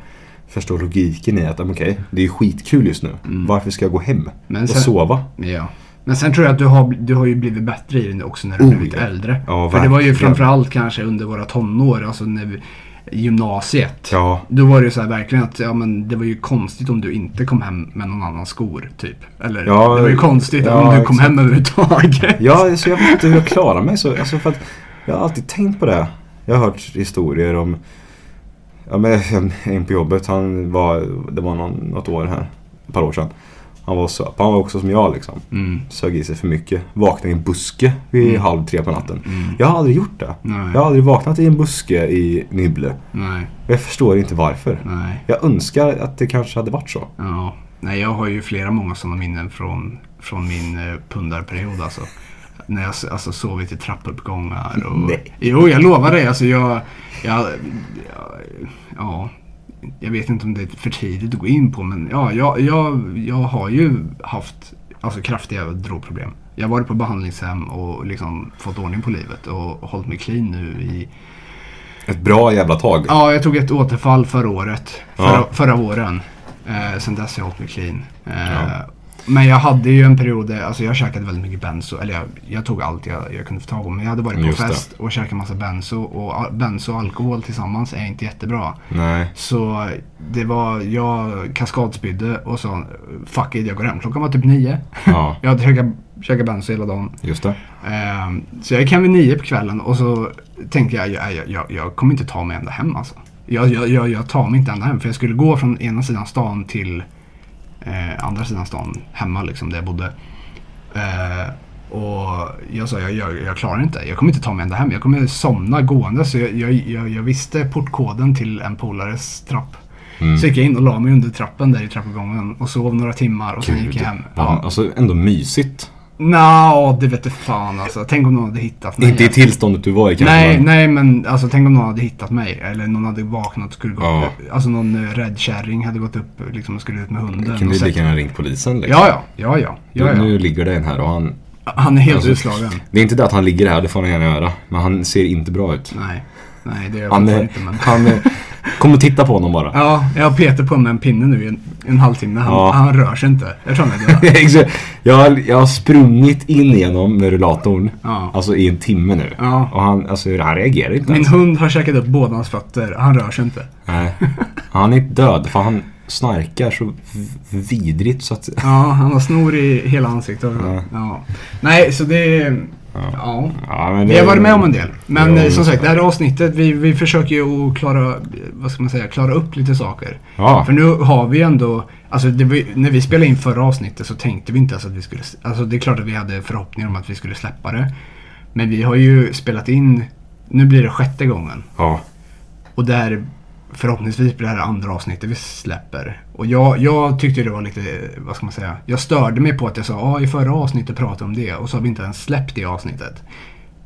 Speaker 3: förstå logiken i att men okej, det är ju skitkul just nu. Varför ska jag gå hem
Speaker 4: Mm. Men
Speaker 3: och
Speaker 4: sen-
Speaker 3: sova?
Speaker 4: Ja. Men sen tror jag att du har, du har ju blivit bättre i det också när du
Speaker 3: Oh,
Speaker 4: har blivit
Speaker 3: ja.
Speaker 4: äldre.
Speaker 3: Ja,
Speaker 4: För det var ju
Speaker 3: verkligen.
Speaker 4: framförallt kanske under våra tonår, alltså när vi, gymnasiet.
Speaker 3: Ja.
Speaker 4: Då var det ju så här verkligen att ja, men det var ju konstigt om du inte kom hem med någon annans skor typ. Eller
Speaker 3: Ja,
Speaker 4: det var ju konstigt
Speaker 3: ja,
Speaker 4: om du kom
Speaker 3: exakt.
Speaker 4: hem överhuvudtaget.
Speaker 3: Ja, så jag vet inte hur jag klarar mig. Så, alltså för att jag har alltid tänkt på det. Jag har hört historier om ja, men, en- en på jobbet, han var, det var någon, något år här, ett par år sedan. Han var söp, han var också som jag liksom.
Speaker 4: Mm.
Speaker 3: Sög i sig för mycket. Vaknade i en buske vid halv tre på natten. Jag har aldrig gjort det.
Speaker 4: Mm. Nej.
Speaker 3: Jag har aldrig vaknat i en buske i Nybble.
Speaker 4: Nej,
Speaker 3: Jag förstår inte varför.
Speaker 4: nej.
Speaker 3: Jag önskar att det kanske hade varit så.
Speaker 4: Ja, nej jag har ju flera många sådana minnen från, från min eh, pundarperiod alltså. när jag s- alltså, sovit i trappuppgångar. Och,
Speaker 3: Nej.
Speaker 4: Jo, jag lovar dig. Alltså, jag, jag, jag, ja, jag vet inte om det är för tidigt att gå in på men ja, jag, jag, jag har ju haft alltså, kraftiga drogproblem. Jag har varit på behandlingshem och liksom fått ordning på livet och hållit mig clean nu i
Speaker 3: Ett bra jävla tag.
Speaker 4: Ja, jag tog ett återfall förra året.
Speaker 3: Ja.
Speaker 4: Förra, förra våren. Eh, sen dess har jag hållit mig clean. Eh,
Speaker 3: Ja.
Speaker 4: Men jag hade ju en period, där- alltså jag käkade väldigt mycket benzo. Eller jag, jag tog allt jag, jag kunde få tag på. Men jag hade varit på
Speaker 3: Just det.
Speaker 4: fest och käkat massa benzo. Och al- benzo och alkohol tillsammans är inte jättebra.
Speaker 3: Nej.
Speaker 4: Så det var, jag kaskadspydde och sa fuck it, jag går hem. Klockan var typ nio.
Speaker 3: Ja,
Speaker 4: Jag hade käkat, käkat benzo hela dagen.
Speaker 3: just det.
Speaker 4: Ehm, Så jag gick hem vid nio på kvällen och så tänkte jag, jag, jag, jag, jag kommer inte ta mig ända hem alltså. Jag, jag, jag, jag tar mig inte ända hem för jag skulle gå från ena sidan stan till eh, andra sidan stan hemma liksom där jag bodde. Eh, och jag sa, jag, jag, jag klarar inte. Jag kommer inte ta mig ända hem. Jag kommer somna gående. Så jag, jag, jag, jag visste portkoden till en polares trapp. Så gick jag in och la mig under trappen där i trappuppgången och sov några timmar och sen gick jag hem.
Speaker 3: Ja, alltså ändå mysigt.
Speaker 4: Nå, det vet du fan alltså. Tänk om någon hade hittat mig.
Speaker 3: Inte i tillståndet du var i kanske.
Speaker 4: nej,
Speaker 3: men-
Speaker 4: nej men alltså tänk om någon hade hittat mig. Eller någon hade vaknat och skulle gå
Speaker 3: Ja.
Speaker 4: upp. Alltså någon eh, rädd kärring hade gått upp liksom, och skulle ut med hunden.
Speaker 3: Kunde
Speaker 4: och
Speaker 3: ju
Speaker 4: sett-
Speaker 3: lika gärna ringt polisen liksom.
Speaker 4: ja, ja, ja, ja. ja,
Speaker 3: Nu
Speaker 4: ja.
Speaker 3: ligger det en här och han...
Speaker 4: Han är helt
Speaker 3: alltså,
Speaker 4: utslagen.
Speaker 3: Det är inte det att han ligger här, det får han gärna göra. Men han ser inte bra ut.
Speaker 4: Nej, nej det är jag
Speaker 3: Han,
Speaker 4: fortfarande
Speaker 3: är,
Speaker 4: inte. Men...
Speaker 3: han är, Kom och titta på honom bara.
Speaker 4: Ja, jag har Peter på mig en pinne nu i en, en halvtimme. Han,
Speaker 3: Ja.
Speaker 4: han rör sig inte. Jag tror han är död.
Speaker 3: Exakt. jag, har, jag har sprungit in genom med rullatorn.
Speaker 4: Ja.
Speaker 3: Alltså i en timme nu.
Speaker 4: Ja.
Speaker 3: Och han, alltså, han reagerar inte
Speaker 4: Min
Speaker 3: ens.
Speaker 4: hund har käkat upp båda hans fötter. Han rör sig inte.
Speaker 3: Nej. Han är inte död för han snarkar så v- vidrigt så att...
Speaker 4: Ja, han har snor i hela ansiktet. Ja. Ja. Nej, så det... ja.
Speaker 3: Ja, men
Speaker 4: Vi har varit med om en del. Men
Speaker 3: Jo,
Speaker 4: eh, som sagt, det här avsnittet, vi, vi försöker ju att klara, eh, vad ska man säga, klara upp lite saker.
Speaker 3: Ja.
Speaker 4: För nu har vi ändå, alltså det, var ju- när vi spelade in förra avsnittet så tänkte vi inte ens att vi skulle, alltså det är klart att vi hade förhoppningar om att vi skulle släppa det. Men vi har ju spelat in, nu blir det sjätte gången.
Speaker 3: Ja.
Speaker 4: Och där förhoppningsvis blir det här andra avsnittet vi släpper. Och jag, jag tyckte det var lite, vad ska man säga, jag störde mig på att jag sa ah, i förra avsnittet pratade om det och så har vi inte ens släppt det avsnittet.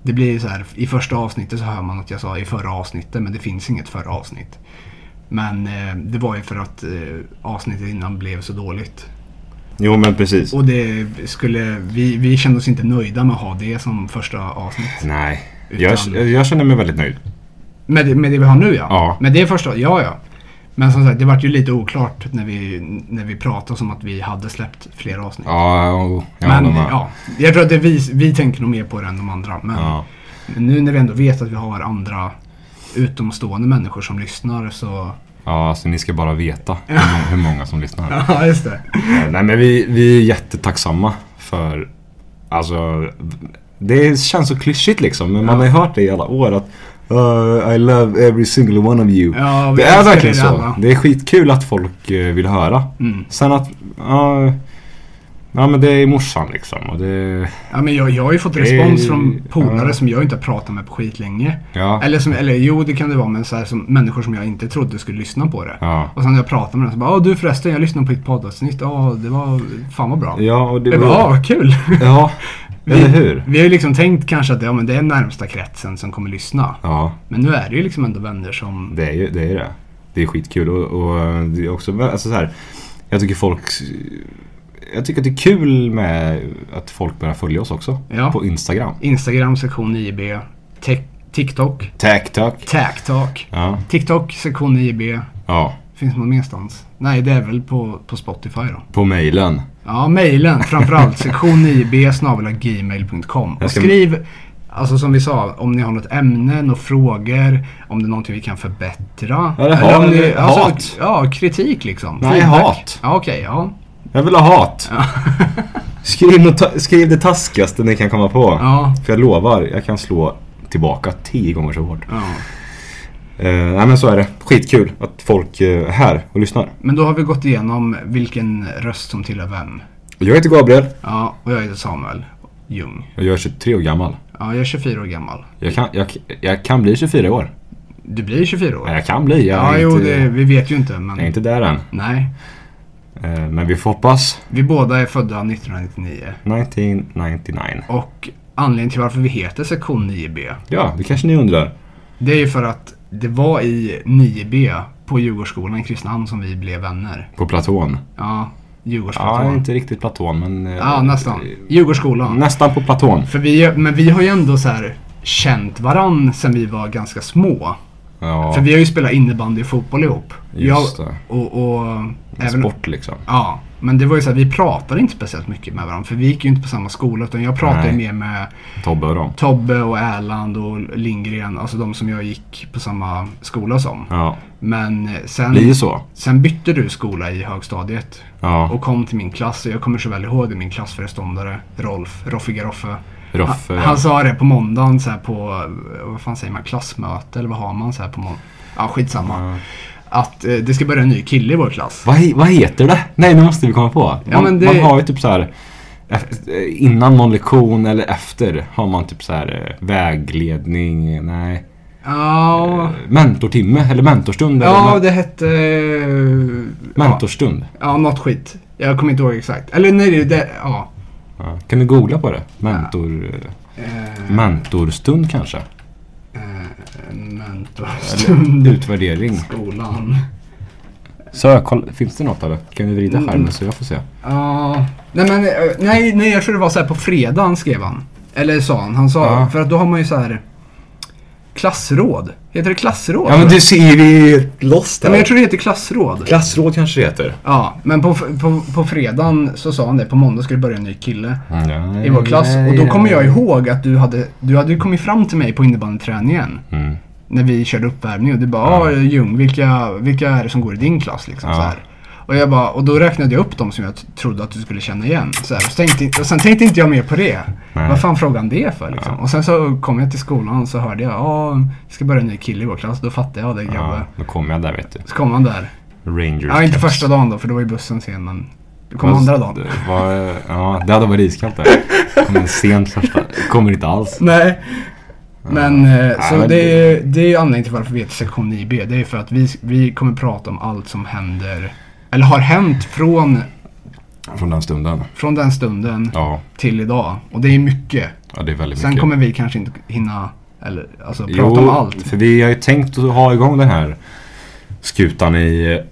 Speaker 4: Det blir så här, i första avsnittet så hör man att jag sa i förra avsnittet men det finns inget förra avsnitt. Men eh, det var ju för att eh, avsnittet innan blev så dåligt.
Speaker 3: Jo men precis.
Speaker 4: Och det skulle, vi, vi kände oss inte nöjda med att ha det som första avsnitt.
Speaker 3: Nej.
Speaker 4: Utan-
Speaker 3: Jag, jag känner mig väldigt nöjd.
Speaker 4: Med, det- med det vi har nu ja.
Speaker 3: Ja.
Speaker 4: Med det första, ja ja. Men som sagt, det vart ju lite oklart när vi, när vi pratade om att vi hade släppt fler avsnitt.
Speaker 3: Ja, jo, jag
Speaker 4: men
Speaker 3: håller med.
Speaker 4: ja, jag tror att det vi, vi tänker nog mer på det än de andra. Men
Speaker 3: Ja.
Speaker 4: nu när vi ändå vet att vi har andra utomstående människor som lyssnar så...
Speaker 3: Ja, alltså ni ska bara veta hur, må- hur många som lyssnar.
Speaker 4: Ja, just det.
Speaker 3: Eh, Nej men vi, vi är jättetacksamma för Alltså Det känns så klyschigt liksom men man har ju hört det i alla år att "Uh, I love every single one of you.
Speaker 4: Ja, vi
Speaker 3: det är
Speaker 4: älskar
Speaker 3: verkligen
Speaker 4: er
Speaker 3: så.
Speaker 4: alla.
Speaker 3: Det är skitkul att folk eh, vill höra.
Speaker 4: Mm.
Speaker 3: Sen att uh, Ja men det är morsan liksom och det
Speaker 4: Ja, men jag, jag har ju fått respons
Speaker 3: Eh,
Speaker 4: från polare
Speaker 3: ja.
Speaker 4: som jag inte har pratat med på skitlänge.
Speaker 3: Ja.
Speaker 4: Eller, som, eller jo, det kan det vara, men så här, som människor som jag inte trodde skulle lyssna på det.
Speaker 3: Ja.
Speaker 4: Och sen när jag pratade med dem så bara, "Ja, du förresten, jag lyssnade på ditt poddavsnitt. Ja, det var fan vad bra.
Speaker 3: Ja och det
Speaker 4: Jag bara, Ja, vad kul.
Speaker 3: Ja, eller hur?
Speaker 4: Vi har ju liksom tänkt kanske att ja, men det är närmsta kretsen som kommer lyssna.
Speaker 3: Ja,
Speaker 4: Men nu är det ju liksom ändå vänner som...
Speaker 3: det är ju det. Är det. det är skitkul och, och det är också alltså, så här, Jag tycker folk Jag tycker att det är kul med att folk börjar följa oss också.
Speaker 4: Ja.
Speaker 3: På Instagram.
Speaker 4: Instagram sektion 9B, Tik- TikTok,
Speaker 3: Tack, tack.
Speaker 4: TikTok,
Speaker 3: Ja.
Speaker 4: TikTok sektion 9B.
Speaker 3: ja.
Speaker 4: Finns det någon merstans? Nej, det är väl på, på Spotify då.
Speaker 3: På mejlen.
Speaker 4: Ja, mejlen framförallt. Sektion 9b snabel-a gmail.com.
Speaker 3: Jag
Speaker 4: Och
Speaker 3: ska-
Speaker 4: skriv, alltså som vi sa, om ni har något ämne, några frågor, om det är någonting vi kan förbättra.
Speaker 3: Ja, det har
Speaker 4: Eller om
Speaker 3: vi.
Speaker 4: ni- alltså,
Speaker 3: Hat.
Speaker 4: Ja, kritik liksom.
Speaker 3: Nej,
Speaker 4: Feedback.
Speaker 3: hat.
Speaker 4: Ja, okej. ja.
Speaker 3: Jag vill ha hat. skriv, något ta- skriv det taskigaste ni kan komma på.
Speaker 4: Ja.
Speaker 3: För jag lovar, jag kan slå tillbaka tio gånger så hårt.
Speaker 4: ja.
Speaker 3: Eh, nej men så är det. Skitkul att folk eh, är här och lyssnar.
Speaker 4: Men då har vi gått igenom vilken röst som tillhör vem.
Speaker 3: Jag heter Gabriel
Speaker 4: Ja, och jag heter Samuel Ljung.
Speaker 3: och jag är 23 år gammal.
Speaker 4: Ja, jag är 24 år gammal.
Speaker 3: Jag kan, jag, jag kan bli 24 år.
Speaker 4: Du blir 24 år.
Speaker 3: Nej, jag kan bli. Jag
Speaker 4: Ja,
Speaker 3: är,
Speaker 4: jo,
Speaker 3: inte,
Speaker 4: det, vi vet ju inte, men...
Speaker 3: jag är inte där än.
Speaker 4: Nej.
Speaker 3: Eh, Men vi får hoppas.
Speaker 4: Vi båda är födda 1999.
Speaker 3: 1999.
Speaker 4: Och anledningen till varför vi heter sektion 9B.
Speaker 3: Ja, det kanske ni undrar.
Speaker 4: Det är ju för att det var i 9B på Djurgårdsskolan i Kristinehamn som vi blev vänner.
Speaker 3: På platån.
Speaker 4: Ja,
Speaker 3: Ja,
Speaker 4: Djurgårdsskolan.
Speaker 3: inte riktigt platån men... eh,
Speaker 4: Ja, nästan.
Speaker 3: eh,
Speaker 4: Djurgårdsskolan.
Speaker 3: Nästan på platån.
Speaker 4: För vi, men vi har ju ändå så här känt varann sen vi var ganska små.
Speaker 3: Ja,
Speaker 4: För vi har ju spelat innebandy och fotboll ihop.
Speaker 3: Just det.
Speaker 4: Och, och även,
Speaker 3: sport liksom.
Speaker 4: Ja, men det var ju så här, vi pratade inte speciellt mycket med varandra. För vi gick ju inte på samma skola. Utan jag pratade
Speaker 3: Nej.
Speaker 4: mer med
Speaker 3: Tobbe och dem.
Speaker 4: Tobbe och Erland och Lindgren. Alltså de som jag gick på samma skola som.
Speaker 3: Ja,
Speaker 4: Men eh, sen,
Speaker 3: blir ju så.
Speaker 4: sen bytte du skola i högstadiet.
Speaker 3: Ja,
Speaker 4: Och kom till min klass. Och jag kommer så väl ihåg det. Min klassföreståndare Rolf, Roffe Garoffe.
Speaker 3: Roffe.
Speaker 4: Han, han sa det på måndagen så här på, eh, vad fan säger man, klassmöte eller vad har man så här på måndag? Ja, skitsamma. Att eh, det ska börja en ny kille i vår klass.
Speaker 3: Vad, he- vad heter det? Nej, nu måste vi komma på. Man,
Speaker 4: Ja, men det-
Speaker 3: man har ju typ så här ef- eh, innan någon lektion eller efter har man typ så här eh, vägledning, eh, nej.
Speaker 4: Ja,
Speaker 3: Eh, Mentortimme eller mentorstund.
Speaker 4: ja
Speaker 3: eller
Speaker 4: det hette... eh,
Speaker 3: men- mentorstund.
Speaker 4: Ja, något skit. Jag kommer inte ihåg exakt. Eller nej, det, det ja.
Speaker 3: Ja. Kan du googla på det? Mentor,
Speaker 4: Eh,
Speaker 3: eh, mentorstund kanske?
Speaker 4: mentorstund i
Speaker 3: Utvärdering.
Speaker 4: skolan.
Speaker 3: Sök, kolla, finns det något eller? Kan du vrida
Speaker 4: Mm.
Speaker 3: skärmen så jag får se?
Speaker 4: Ja, nej men eh, nej, nej, jag tror det var så här på fredagen skrev han. Eller sa han. Han sa,
Speaker 3: Ja.
Speaker 4: för att då har man ju så här klassråd. Heter det klassråd?
Speaker 3: Ja men du ser vi är lost
Speaker 4: Ja, men jag tror det heter klassråd.
Speaker 3: Klassråd kanske det heter.
Speaker 4: Ja, men på, på, på fredagen så sa han det. På måndag skulle det börja en ny kille.
Speaker 3: Mm,
Speaker 4: Mm. i vår klass. Och då kommer jag ihåg att du hade, du hade ju kommit fram till mig på innebandyträningen.
Speaker 3: Mm.
Speaker 4: När vi körde uppvärmning och du bara ja. Ljung, vilka, vilka är det som går i din klass? Liksom,
Speaker 3: Ja.
Speaker 4: så här. Och, jag bara, och då räknade jag upp dem som jag t- trodde att du skulle känna igen. Så här, och, så tänkte, och sen tänkte inte jag mer på det.
Speaker 3: Nej.
Speaker 4: Vad fan frågade han det för? Liksom? Och sen så kom jag till skolan och så hörde jag ja, det ska börja en ny kille i vår klass. Då fattade jag det grabbar.
Speaker 3: Ja, då kommer jag där vet du.
Speaker 4: Så kom han där.
Speaker 3: Rangers
Speaker 4: Ja, inte
Speaker 3: Cups.
Speaker 4: första dagen då för då var ju bussen sen. Men du kom
Speaker 3: Fast
Speaker 4: andra dagen.
Speaker 3: det Var, ja, det hade varit iskallt där. Kommer sent första. Kommer inte alls.
Speaker 4: Nej. Men eh, så
Speaker 3: Nej, men
Speaker 4: det, är, ju- det är ju anledningen till varför vi heter sektion 9B. Det är för att vi, vi kommer prata om allt som händer, eller har hänt från,
Speaker 3: Från den stunden.
Speaker 4: från den stunden
Speaker 3: Ja,
Speaker 4: till idag. Och det är mycket.
Speaker 3: ja det är väldigt
Speaker 4: Sen
Speaker 3: mycket.
Speaker 4: kommer vi kanske inte hinna, eller alltså prata
Speaker 3: Jo,
Speaker 4: om allt.
Speaker 3: för vi har ju tänkt att ha igång den här skutan i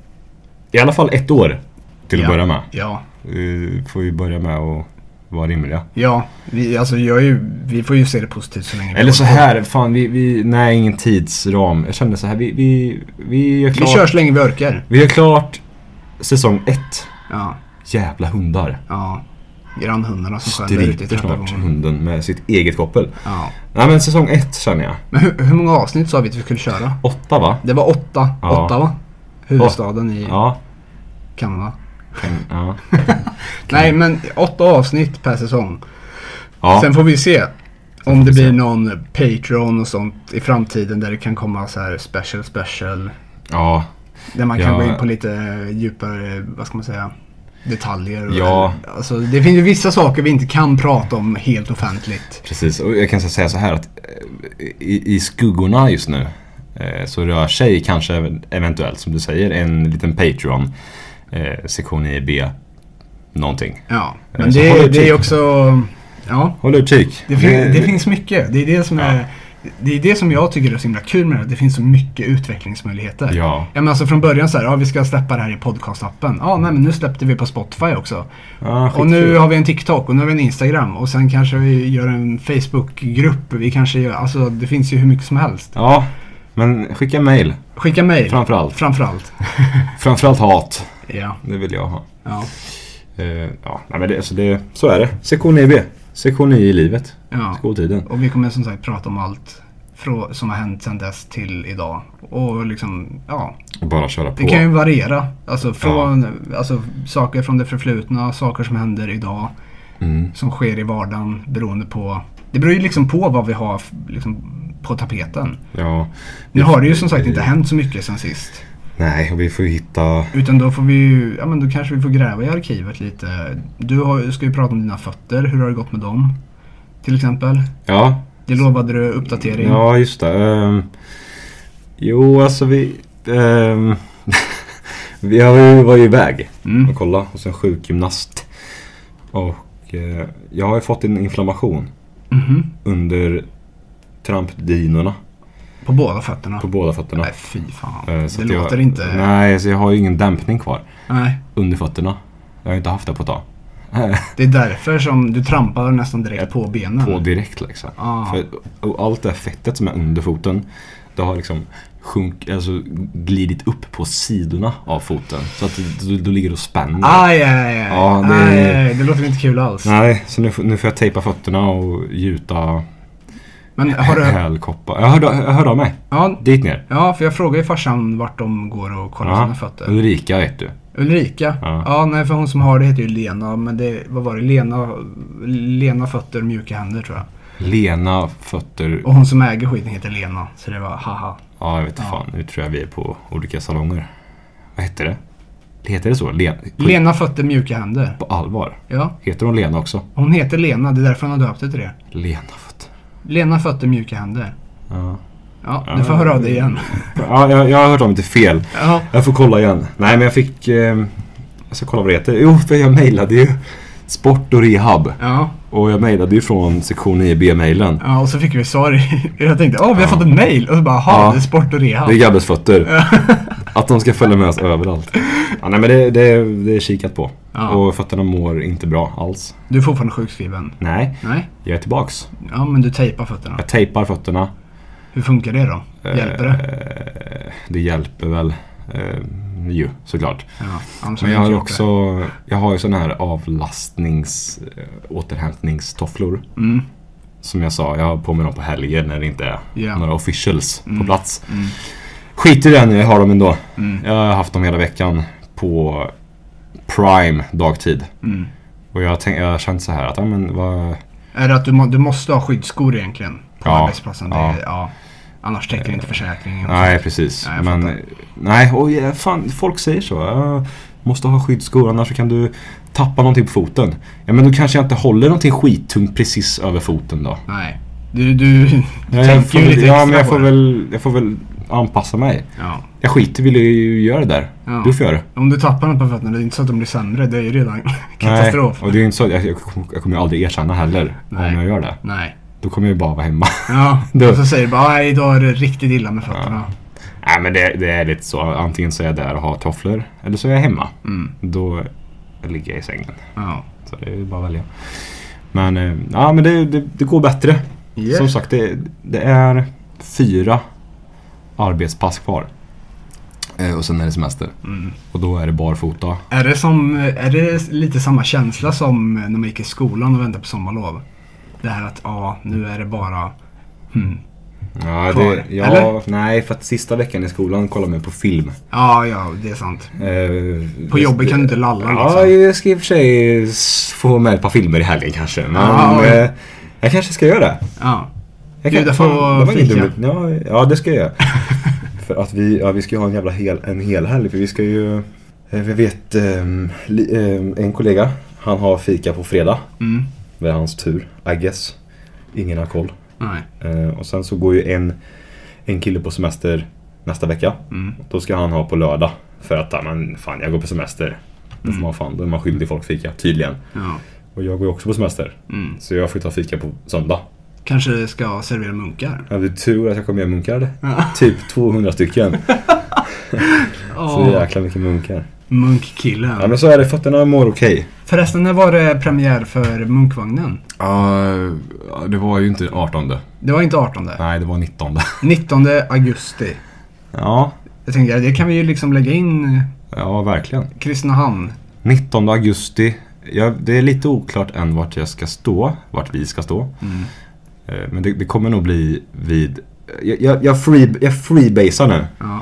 Speaker 3: i alla fall ett år till att
Speaker 4: Ja.
Speaker 3: börja med.
Speaker 4: Ja,
Speaker 3: Eh, Får vi börja med att vara rimliga.
Speaker 4: ja. Vi, alltså, jag är ju, vi får ju se det positivt så länge vi
Speaker 3: Eller så
Speaker 4: orkar.
Speaker 3: här, fan vi, vi nej ingen tidsram. Jag kände så här, vi, vi, vi gör
Speaker 4: Vi
Speaker 3: klart.
Speaker 4: kör så länge vi orkar.
Speaker 3: vi gör klart säsong ett.
Speaker 4: Ja,
Speaker 3: Jävla hundar.
Speaker 4: ja. Grannhundarna som skäller ute i
Speaker 3: Stryper snart
Speaker 4: trappuppgången.
Speaker 3: hunden med sitt eget koppel.
Speaker 4: Ja.
Speaker 3: Nej men säsong ett känner jag.
Speaker 4: Men hur, hur många avsnitt sa vi att vi skulle köra?
Speaker 3: Åtta va?
Speaker 4: Det var åtta.
Speaker 3: Ja.
Speaker 4: Åtta va? Huvudstaden i
Speaker 3: Ja.
Speaker 4: Kanada.
Speaker 3: Kan- Ja.
Speaker 4: Nej men åtta avsnitt per säsong.
Speaker 3: ja.
Speaker 4: Sen får vi se. Om det
Speaker 3: vi se.
Speaker 4: blir någon Patreon och sånt i framtiden där det kan komma så här special special.
Speaker 3: ja.
Speaker 4: Där man kan
Speaker 3: Ja.
Speaker 4: gå in på lite djupare, vad ska man säga, detaljer. och-
Speaker 3: Ja.
Speaker 4: Alltså, det finns ju vissa saker vi inte kan prata om helt offentligt.
Speaker 3: Precis. Och jag kan så säga så här att eh, i, i skuggorna just nu eh, så rör sig kanske ev- eventuellt som du säger en liten Patreon eh, sektion i B någonting.
Speaker 4: Ja.
Speaker 3: Eh,
Speaker 4: Men
Speaker 3: så
Speaker 4: det,
Speaker 3: håll
Speaker 4: det är
Speaker 3: utkik.
Speaker 4: också, ja.
Speaker 3: Håll utkik. Eh,
Speaker 4: Det, fin- det finns mycket. Det är det, som är, det är det som jag tycker är så himla kul med det. Det finns så mycket utvecklingsmöjligheter.
Speaker 3: Ja.
Speaker 4: men alltså från början så här, ja vi ska släppa det här i podcastappen. Ja, nej men nu släppte vi på Spotify också.
Speaker 3: Ja,
Speaker 4: och nu har vi en TikTok och nu har vi en Instagram och sen kanske vi gör en Facebookgrupp. Vi kanske gör, alltså det finns ju hur mycket som helst.
Speaker 3: Ja. Men skicka mail.
Speaker 4: Skicka mejl.
Speaker 3: Framförallt.
Speaker 4: Framförallt.
Speaker 3: Framförallt hat.
Speaker 4: ja.
Speaker 3: Det vill jag ha.
Speaker 4: Ja.
Speaker 3: Eh, ja, nej, men det, alltså det, så är det. Sektion 9B. Sektion 9 i livet.
Speaker 4: ja.
Speaker 3: Skoltiden.
Speaker 4: Och vi kommer som sagt prata om allt frå- som har hänt sedan dess till idag. Och liksom, ja.
Speaker 3: Och bara köra på.
Speaker 4: Det kan ju variera. Alltså, från, alltså saker från det förflutna, saker som händer idag,
Speaker 3: Mm.
Speaker 4: som sker i vardagen beroende på... Det beror ju liksom på vad vi har f- liksom, på tapeten.
Speaker 3: Ja.
Speaker 4: Nu har det ju som sagt inte hänt så mycket sen sist.
Speaker 3: Nej, och vi får ju hitta...
Speaker 4: Utan då får vi ju, ja men då kanske vi får gräva i arkivet lite. Du har, ska ju prata om dina fötter, hur har det gått med dem? Till exempel.
Speaker 3: Ja,
Speaker 4: Det lovade du uppdatering.
Speaker 3: ja just det. Ehm, jo, alltså vi... ehm, vi har ju, var ju iväg
Speaker 4: Mm.
Speaker 3: och kolla hos en sjukgymnast. Och eh, jag har ju fått en inflammation
Speaker 4: Mhm.
Speaker 3: under trampdynorna
Speaker 4: På båda fötterna?
Speaker 3: på båda fötterna.
Speaker 4: Nej, fy fan.
Speaker 3: Eh, så
Speaker 4: det
Speaker 3: att jag-
Speaker 4: låter inte...
Speaker 3: Nej, så jag har ju ingen dämpning kvar
Speaker 4: Nej.
Speaker 3: under fötterna. Jag har inte haft det på ett tag.
Speaker 4: Det är därför som du trampar nästan direkt på benen.
Speaker 3: På direkt liksom.
Speaker 4: Mm. Ah.
Speaker 3: För, och allt det här fettet som är under foten, det har liksom sjunk, alltså glidit upp på sidorna av foten. Så att du- du, du ligger och spänner.
Speaker 4: Aj, aj, aj.
Speaker 3: Ja, det-
Speaker 4: aj, aj, aj. Det låter inte kul alls.
Speaker 3: Nej, så nu, får- nu får jag tejpa fötterna och gjuta
Speaker 4: Men har du... Ah.
Speaker 3: hälkoppar. Jag hörde, jag hörde av mig.
Speaker 4: Ja,
Speaker 3: Dit ner.
Speaker 4: ja, för jag frågade ju farsan vart de går och kollar
Speaker 3: Ja,
Speaker 4: sina fötter.
Speaker 3: Ulrika vet du.
Speaker 4: Ulrika?
Speaker 3: Ja.
Speaker 4: Ja. nej för hon som har det heter ju Lena. Men det, vad var det? Lena, Lena fötter, mjuka händer tror jag.
Speaker 3: Lena fötter.
Speaker 4: Och hon som äger skiten heter Lena. Så det var haha.
Speaker 3: Ja, jag vet
Speaker 4: Ah.
Speaker 3: inte fan. Nu tror jag vi är på olika salonger. Vad heter det? Heter det så? Lena?
Speaker 4: Lena fötter, mjuka händer.
Speaker 3: På allvar?
Speaker 4: Ja,
Speaker 3: Heter hon Lena också?
Speaker 4: hon heter Lena. Det är därför hon har döpt det till det.
Speaker 3: Lena fötter.
Speaker 4: Lena fötter, mjuka händer.
Speaker 3: Ja.
Speaker 4: Ja, du får höra av dig igen.
Speaker 3: Ja, jag, jag har hört om det till fel.
Speaker 4: Ja.
Speaker 3: Jag får kolla igen. Nej, men jag fick... Eh, jag ska kolla vad det heter. Jo, för jag mejlade ju sport och rehab.
Speaker 4: Ja,
Speaker 3: Och jag mejlade ju från sektion 9B-mejlen.
Speaker 4: ja och så fick vi svar. i- Jag tänkte, åh vi har fått ett mail. Och så bara, jaha,
Speaker 3: Ja.
Speaker 4: det är sport och rehab.
Speaker 3: Det är Gabbes fötter. Att de ska följa med oss överallt. Ja, nej, men det, det, det är kikat på.
Speaker 4: Ja.
Speaker 3: Och fötterna mår inte bra alls.
Speaker 4: Du är fortfarande sjukskriven?
Speaker 3: Nej,
Speaker 4: Nej?
Speaker 3: jag är tillbaks.
Speaker 4: Ja, men du tejpar fötterna.
Speaker 3: Jag tejpar fötterna.
Speaker 4: Hur funkar det då?
Speaker 3: Eh,
Speaker 4: Hjälper det?
Speaker 3: Det hjälper väl. Eh, ju, såklart.
Speaker 4: Ja, annars
Speaker 3: Men jag
Speaker 4: hade
Speaker 3: har
Speaker 4: inte
Speaker 3: ju
Speaker 4: gjort
Speaker 3: också, jag har ju sådana här avlastnings, eh, återhämtningstofflor.
Speaker 4: det. Mm.
Speaker 3: Som jag sa, jag har på mig dem på helger när det inte är
Speaker 4: Ja. Mm.
Speaker 3: några officials på plats. Skit i det nu, jag har dem ändå. Jag har haft dem hela veckan på prime dagtid.
Speaker 4: Mm.
Speaker 3: Och jag har tänkt- jag har känt så här att, ja men vad...
Speaker 4: Är det att du, må, du måste ha skyddsskor egentligen? På
Speaker 3: Ja,
Speaker 4: arbetsplatsen? Det,
Speaker 3: ja. Eh,
Speaker 4: är- ja. Annars täcker inte försäkringen.
Speaker 3: Nej precis.
Speaker 4: Nej, jag
Speaker 3: men,
Speaker 4: fattar.
Speaker 3: nej, och ja, fan, folk säger så. Jag måste ha skyddsskor annars så kan du tappa någonting på foten. Ja men då kanske jag inte håller någonting skittungt precis över foten då.
Speaker 4: Nej. Du, du, du
Speaker 3: Ja, jag
Speaker 4: tänker
Speaker 3: får,
Speaker 4: ju
Speaker 3: väl-
Speaker 4: lite
Speaker 3: ja,
Speaker 4: extra
Speaker 3: men jag
Speaker 4: på
Speaker 3: får,
Speaker 4: det.
Speaker 3: väl, jag får väl anpassa mig.
Speaker 4: Ja.
Speaker 3: Jag skiter vill ju göra det där.
Speaker 4: Ja.
Speaker 3: Du får göra det.
Speaker 4: Om du tappar något på fötterna, det är inte så att de blir sämre. Det är ju redan katastrof.
Speaker 3: Nej, och det är ju inte så, jag, jag kommer- jag kommer ju aldrig erkänna heller
Speaker 4: Nej.
Speaker 3: om jag gör det.
Speaker 4: Nej.
Speaker 3: Då kommer jag ju bara vara hemma.
Speaker 4: Ja,
Speaker 3: Du.
Speaker 4: och så säger du bara nej idag är det riktigt illa med fötterna.
Speaker 3: Nej men det, det är lite så. Antingen så är jag där och har tofflor eller så är jag hemma.
Speaker 4: Mm.
Speaker 3: Då ligger jag i sängen.
Speaker 4: Ja.
Speaker 3: Så det är ju bara att välja. Men, eh, ja, men det, det, det går bättre.
Speaker 4: Yeah.
Speaker 3: Som sagt, det, det är fyra arbetspass kvar. Eh, Och sen är det semester.
Speaker 4: Mm.
Speaker 3: Och då är det barfota.
Speaker 4: Är, det som, är det lite samma känsla som när man gick i skolan och väntade på sommarlov? Det här att ja, nu är det bara hmm.
Speaker 3: Ja,
Speaker 4: Kvar,
Speaker 3: det, ja,
Speaker 4: eller?
Speaker 3: Nej, för att sista veckan i skolan kollade man på film.
Speaker 4: Ja, ja, det är sant.
Speaker 3: Eh,
Speaker 4: På jobbet kan du inte lalla
Speaker 3: Ja,
Speaker 4: liksom.
Speaker 3: jag ska i och för sig s- få med ett par filmer i helgen kanske. Men
Speaker 4: Ah, Ja, oj.
Speaker 3: eh, jag kanske ska göra det.
Speaker 4: Ja.
Speaker 3: Jag
Speaker 4: Bjuda
Speaker 3: fan,
Speaker 4: på
Speaker 3: det var ingen
Speaker 4: fika.
Speaker 3: dum- Ja, ja, det ska jag göra. för att vi, ja, vi ska ju ha en jävla hel, en hel helg. För vi ska ju... eh, Vi vet ehm, li, ehm, en kollega, han har fika på fredag.
Speaker 4: Mm.
Speaker 3: Det är hans tur, I guess. Ingen har koll.
Speaker 4: Nej.
Speaker 3: Eh, och sen så går ju en, en kille på semester nästa vecka.
Speaker 4: Mm.
Speaker 3: Då ska han ha på lördag. För att, ja, men fan jag går på semester. Då,
Speaker 4: Mm.
Speaker 3: får man, fan, då är man skyldig folk fika, tydligen.
Speaker 4: Ja.
Speaker 3: Och jag går ju också på semester.
Speaker 4: Mm.
Speaker 3: Så jag får ta fika på söndag.
Speaker 4: Kanske ska servera munkar.
Speaker 3: Jag hade tur att jag kom med munkar.
Speaker 4: Ja.
Speaker 3: Typ 200 stycken. Så
Speaker 4: Oh,
Speaker 3: jäkla mycket munkar.
Speaker 4: munkkillen.
Speaker 3: Ja men så är det, fötterna mår okej.
Speaker 4: Förresten, när var det premiär för Munkvagnen?
Speaker 3: Ja, det var ju inte 18.
Speaker 4: Det var inte 18.
Speaker 3: Nej, det var 19.
Speaker 4: 19 augusti.
Speaker 3: Ja,
Speaker 4: Jag tänkte, det kan vi ju liksom lägga in
Speaker 3: ja verkligen.
Speaker 4: Kristinehamn.
Speaker 3: 19 augusti. Jag, det är lite oklart än vart jag ska stå, vart vi ska stå.
Speaker 4: Mm.
Speaker 3: Eh, Men det, det kommer nog bli vid... Jag, jag, jag, free, jag freebasar nu.
Speaker 4: Ja.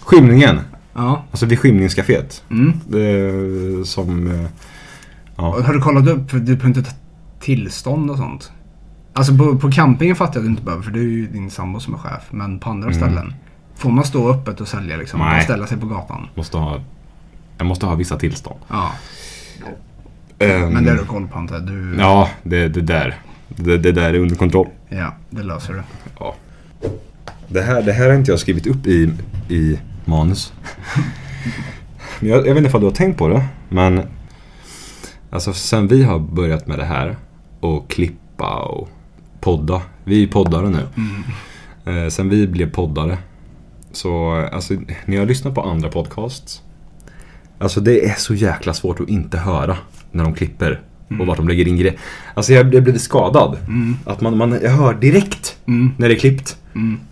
Speaker 3: Skymningen.
Speaker 4: ja.
Speaker 3: Alltså vid skymningscaféet.
Speaker 4: Mm.
Speaker 3: Det är som... eh,
Speaker 4: Och Har du kollat upp, för du behöver inte ta tillstånd och sånt? Alltså på, på campingen fattar jag att du inte behöver för det är ju din sambo som är chef. Men på andra ställen. Får man stå öppet och sälja liksom?
Speaker 3: Mm. Nej.
Speaker 4: Man ställa sig på gatan?
Speaker 3: Måste ha... Jag måste ha vissa tillstånd.
Speaker 4: Ja.
Speaker 3: Ehm,
Speaker 4: Men det har du koll på inte? Du...
Speaker 3: Ja, det, det där. Det, det där är under kontroll.
Speaker 4: ja. Det löser du.
Speaker 3: Ja. Det här, det här har inte jag skrivit upp i, i manus. Men jag, jag vet inte om du har tänkt på det, men alltså sen vi har börjat med det här och klippa och podda. Vi är ju poddare nu. Eh, sen vi blev poddare. Så alltså, när jag lyssnar på andra podcasts. Alltså det är så jäkla svårt att inte höra när de klipper.
Speaker 4: Mm.
Speaker 3: Och vart de lägger in grejer. Alltså jag, jag blev skadad. Att man, man, jag hör direkt
Speaker 4: Mm.
Speaker 3: när det är klippt.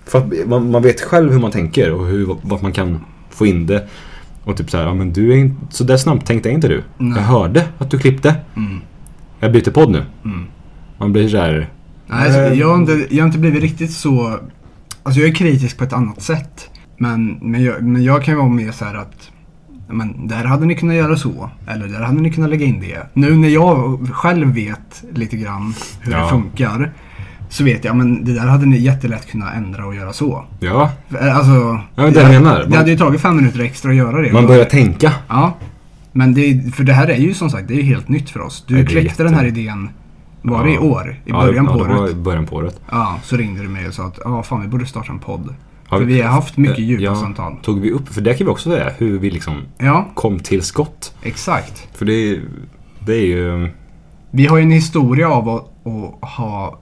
Speaker 3: För att man, man vet själv hur man tänker och hur, vart man kan få in det. Och typ så här, ja men du är inte, så där snabbt tänkte inte du. Jag hörde att du klippte.
Speaker 4: Mm.
Speaker 3: Jag byter podd nu. Man blir så här,
Speaker 4: Nej,
Speaker 3: Eh.
Speaker 4: alltså, jag, har inte, jag har inte blivit riktigt så... Alltså jag är kritisk på ett annat sätt. Men, men, jag, men jag kan ju vara mer så här att... Men där hade ni kunnat göra så. Eller där hade ni kunnat lägga in det. Nu när jag själv vet lite grann hur
Speaker 3: Ja.
Speaker 4: det funkar. Så vet jag, men det där hade ni jättelätt kunnat ändra och göra så.
Speaker 3: ja.
Speaker 4: Alltså,
Speaker 3: Ja, men det jag menar.
Speaker 4: det
Speaker 3: Man-
Speaker 4: hade ju tagit fem minuter extra att göra det.
Speaker 3: Man börjar tänka.
Speaker 4: Ja, men det, är- för det här är ju som sagt, det är ju helt nytt för oss. Du
Speaker 3: Ja, det är
Speaker 4: kläckte
Speaker 3: jätte-
Speaker 4: den här idén, var det i
Speaker 3: Ja.
Speaker 4: år? I
Speaker 3: Ja,
Speaker 4: början på
Speaker 3: ja, det var
Speaker 4: året?
Speaker 3: i början på året.
Speaker 4: Ja, så ringde du mig och sa att ja, fan vi borde starta en podd.
Speaker 3: Ja,
Speaker 4: för vi har haft mycket
Speaker 3: Eh,
Speaker 4: djupa
Speaker 3: ja,
Speaker 4: samtal.
Speaker 3: Tog vi upp, för det kan vi också säga, hur vi liksom
Speaker 4: Ja,
Speaker 3: kom till skott.
Speaker 4: exakt.
Speaker 3: För det, det är ju...
Speaker 4: Vi har ju en historia av att, att ha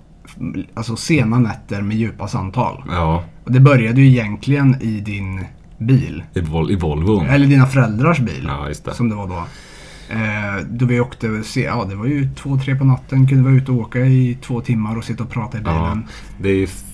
Speaker 4: alltså, sena nätter med djupa samtal.
Speaker 3: Ja,
Speaker 4: Och det började ju egentligen i din bil.
Speaker 3: i, Vol- i Volvo.
Speaker 4: Eller dina föräldrars bil.
Speaker 3: Ja, just det.
Speaker 4: Som det var då. Eh, då vi åkte, se, ja det var ju två, tre på natten. Kunde vara ute och åka i två timmar och sitta och prata i
Speaker 3: Ja,
Speaker 4: bilen.
Speaker 3: det är, ju f-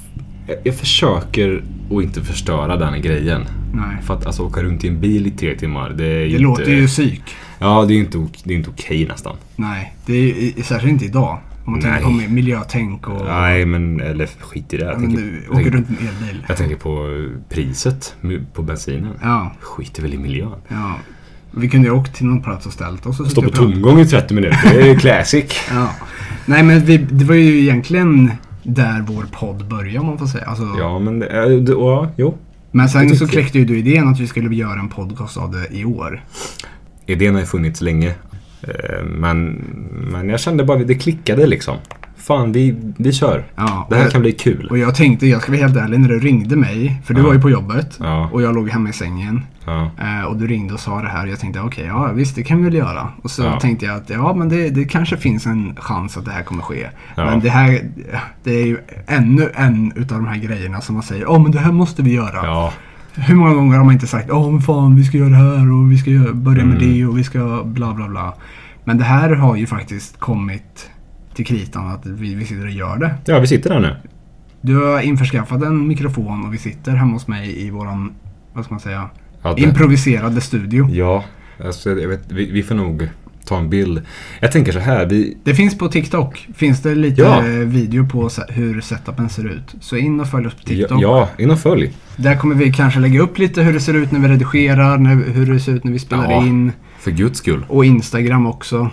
Speaker 3: jag, jag försöker att inte förstöra den grejen.
Speaker 4: Nej.
Speaker 3: För att alltså, åka runt i en bil i tre timmar, det är
Speaker 4: Det
Speaker 3: inte,
Speaker 4: låter ju psyk.
Speaker 3: Ja, det är ju inte, ok- det är inte okej nästan.
Speaker 4: Nej, det är ju, särskilt inte idag. Om man tänker på
Speaker 3: Nej.
Speaker 4: miljötänk och...
Speaker 3: Nej, men eller skit i det. Jag,
Speaker 4: men
Speaker 3: tänker,
Speaker 4: du
Speaker 3: jag,
Speaker 4: åker
Speaker 3: tänker,
Speaker 4: runt med elbil.
Speaker 3: jag tänker på eh, priset mu- på bensinen.
Speaker 4: Ja,
Speaker 3: Skiter väl i miljön.
Speaker 4: ja. Vi kunde ju ha åkt till någon plats och ställt oss. Och
Speaker 3: Stå på
Speaker 4: suttit och pratat.
Speaker 3: tomgång i 30 minuter, det är ju classic.
Speaker 4: Ja. Nej men vi, det var ju egentligen där vår podd började om man får säga. Alltså,
Speaker 3: Ja, men det, är- det, ja, jo.
Speaker 4: Men sen
Speaker 3: tycker
Speaker 4: så
Speaker 3: jag.
Speaker 4: kläckte ju du idén att vi skulle göra en podcast av det i år.
Speaker 3: Idén har ju funnits länge. Eh, Men, men jag kände bara att det klickade liksom. Fan, vi, vi kör.
Speaker 4: Ja,
Speaker 3: det här
Speaker 4: och-
Speaker 3: kan bli kul.
Speaker 4: Och jag tänkte, jag ska vara helt ärlig, när du ringde mig, för du
Speaker 3: Ja.
Speaker 4: var ju på jobbet
Speaker 3: Ja.
Speaker 4: och jag låg hemma i sängen.
Speaker 3: ja.
Speaker 4: Eh, Och du ringde och sa det här och jag tänkte okej, ja visst det kan vi väl göra. Och så
Speaker 3: Ja.
Speaker 4: tänkte jag att ja men det, det kanske finns en chans att det här kommer ske.
Speaker 3: Ja.
Speaker 4: Men det här, det är ju ännu en utav de här grejerna som man säger, åh men det här måste vi göra.
Speaker 3: ja.
Speaker 4: Hur många gånger har man inte sagt, åh men fan vi ska göra det här och vi ska göra, börja med
Speaker 3: Mm.
Speaker 4: det och vi ska bla bla bla. Men det här har ju faktiskt kommit till kritan att vi, vi sitter och gör det.
Speaker 3: Ja, vi sitter där nu.
Speaker 4: Du har införskaffat en mikrofon och vi sitter hemma hos mig i våran, vad ska man säga,
Speaker 3: Ja, det-
Speaker 4: improviserade studio.
Speaker 3: Ja, alltså, jag vet, vi, vi får nog ta en bild. Jag tänker så här, vi,
Speaker 4: Det finns på TikTok. Finns det lite
Speaker 3: Ja.
Speaker 4: eh, video på se- hur setupen ser ut. Så in och följ oss på
Speaker 3: ja,
Speaker 4: TikTok.
Speaker 3: ja, in och följ.
Speaker 4: Där kommer vi kanske lägga upp lite hur det ser ut när vi redigerar, när, hur det ser ut när vi spelar
Speaker 3: Ja.
Speaker 4: in.
Speaker 3: För guds skull.
Speaker 4: Och Instagram också.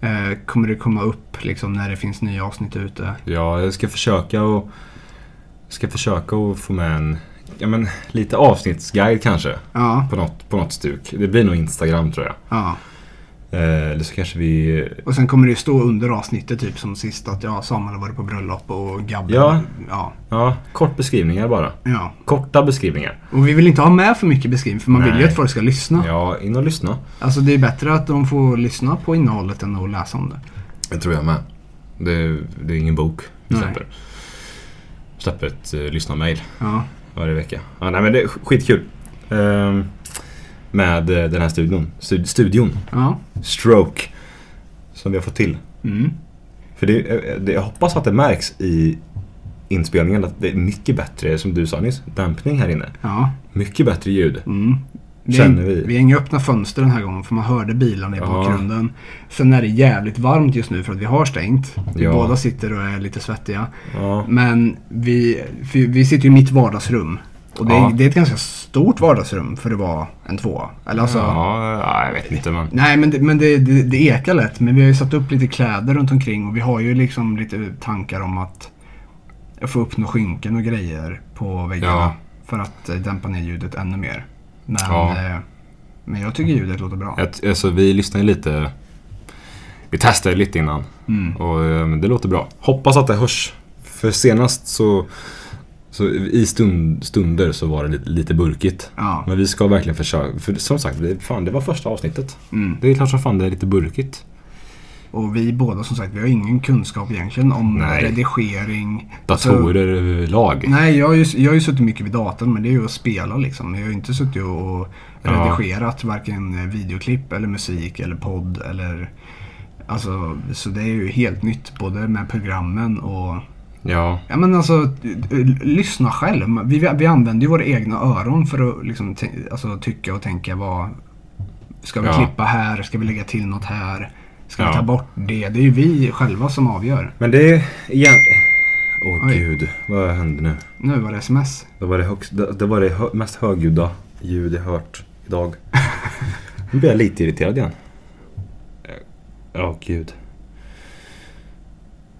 Speaker 4: Eh, kommer det komma upp liksom, när det finns nya avsnitt ute.
Speaker 3: Ja, jag ska försöka och ska försöka och få med en, ja men lite avsnittsguide kanske.
Speaker 4: Ja,
Speaker 3: På något, på något stuk. Det blir nog Instagram tror jag.
Speaker 4: ja.
Speaker 3: Eh, Eller så kanske vi
Speaker 4: Och sen kommer det ju stå under avsnittet typ som sist att ja, Samuel har varit på bröllop och Gabbe.
Speaker 3: Ja.
Speaker 4: ja.
Speaker 3: Ja, kort beskrivningar bara.
Speaker 4: Ja.
Speaker 3: Korta beskrivningar.
Speaker 4: Och vi vill inte ha med för mycket beskrivning för man vill ju
Speaker 3: Nej.
Speaker 4: att folk ska lyssna.
Speaker 3: Ja, in och lyssna.
Speaker 4: Alltså det är bättre att de får lyssna på innehållet än att läsa om det.
Speaker 3: Det tror jag med. Det, det är ingen bok vi
Speaker 4: Nej.
Speaker 3: släpper. Släpper ett eh, lyssna-mail
Speaker 4: Ja.
Speaker 3: varje vecka. Ja, nej men det är sk- skitkul. Ehm, med eh, den här studion. Stud- studion.
Speaker 4: Ja.
Speaker 3: Stroke. Som vi har fått till.
Speaker 4: Mm.
Speaker 3: För det, eh, det, jag hoppas att det märks i inspelningen att det är mycket bättre, som du sa nyss, dämpning här inne.
Speaker 4: Ja.
Speaker 3: Mycket bättre ljud.
Speaker 4: Mm. Vi
Speaker 3: Känner
Speaker 4: har-
Speaker 3: vi.
Speaker 4: Vi har inga öppna fönster den här gången för man hörde bilarna i
Speaker 3: Ja.
Speaker 4: bakgrunden. Sen är det jävligt varmt just nu för att vi har stängt. Vi
Speaker 3: Ja.
Speaker 4: båda sitter och är lite svettiga.
Speaker 3: Ja.
Speaker 4: Men vi, för vi sitter ju i mitt vardagsrum. Och det, är-
Speaker 3: Ja.
Speaker 4: det är ett ganska stort vardagsrum för det var en tvåa. Eller alltså,
Speaker 3: Ja, ja, jag vet inte men.
Speaker 4: Nej men, det, men det, det, det ekar lätt. Men vi har ju satt upp lite kläder runt omkring och vi har ju liksom lite tankar om att få upp några skynken och grejer på väggarna.
Speaker 3: Ja.
Speaker 4: För att eh, dämpa ner ljudet ännu mer. Men,
Speaker 3: Ja.
Speaker 4: eh, men jag tycker ljudet låter bra.
Speaker 3: Att, alltså, vi lyssnar ju lite. Vi testade lite innan. Och eh, det låter bra. Hoppas att det hörs. För senast så, så i stund, stunder så var det lite, lite burkigt.
Speaker 4: Ja.
Speaker 3: Men vi ska verkligen Mm. försöka. För som sagt, det, fan, det var första avsnittet. Det är klart som fan det är lite burkigt.
Speaker 4: Och vi båda som sagt, vi har ingen kunskap egentligen om
Speaker 5: Nej.
Speaker 4: redigering.
Speaker 5: Datorer överlag.
Speaker 4: Nej, jag har, ju, jag har ju suttit mycket vid datorn men det är ju att spela liksom. Jag har ju inte suttit och, och
Speaker 5: Ja.
Speaker 4: redigerat varken eh, videoklipp eller musik eller podd eller... Alltså, så det är ju helt nytt både med programmen och...
Speaker 5: Ja.
Speaker 4: Ja men alltså, t- t- lyssna själv. Vi, vi använder ju våra egna öron för att liksom, t- alltså, tycka och tänka vad... Ska vi
Speaker 5: Ja.
Speaker 4: klippa här? Ska vi lägga till något här? Ska
Speaker 5: Ja.
Speaker 4: vi ta bort det? Det är ju vi själva som avgör.
Speaker 3: Men det är igen... Åh
Speaker 4: Oj.
Speaker 3: gud, vad hände nu?
Speaker 4: Nu var det sms.
Speaker 3: Det var det, högst, det, det, var det hö, mest högljudda ljud jag hört idag. Nu blir jag lite irriterad igen. Ja, gud.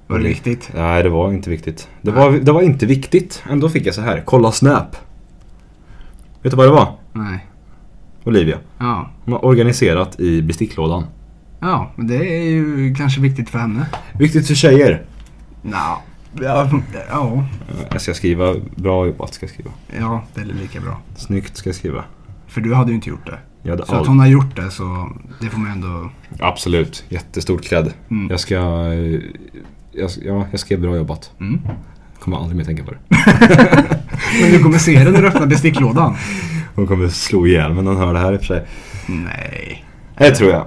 Speaker 4: Var
Speaker 5: Mm.
Speaker 4: det viktigt?
Speaker 3: Nej, det var inte viktigt. Det var, det var inte viktigt. Ändå fick jag så här. Kolla Snap. Vet du vad det var?
Speaker 4: Nej.
Speaker 3: Olivia.
Speaker 4: Ja.
Speaker 3: Hon har organiserat i besticklådan.
Speaker 4: Ja, men det är ju kanske viktigt för henne.
Speaker 3: Viktigt för tjejer.
Speaker 4: Nja. Ja, ja,
Speaker 3: Jag ska skriva bra jobbat ska jag skriva.
Speaker 4: ja, det är lika bra.
Speaker 3: Snyggt ska jag skriva.
Speaker 4: För du hade ju inte gjort det.
Speaker 3: Jag hade
Speaker 4: Så att
Speaker 3: all...
Speaker 4: hon har gjort det så det får man ändå...
Speaker 3: Absolut, jättestort cred.
Speaker 4: Mm.
Speaker 3: Jag ska... eh, Jag, ska- ja, jag skrev bra jobbat.
Speaker 4: Mm.
Speaker 3: Kommer aldrig mer tänka på det.
Speaker 4: Men du kommer se det när du öppnar besticklådan.
Speaker 3: Hon kommer slå ihjäl men hon hör det här i och för sig.
Speaker 4: Nej.
Speaker 3: Det tror jag.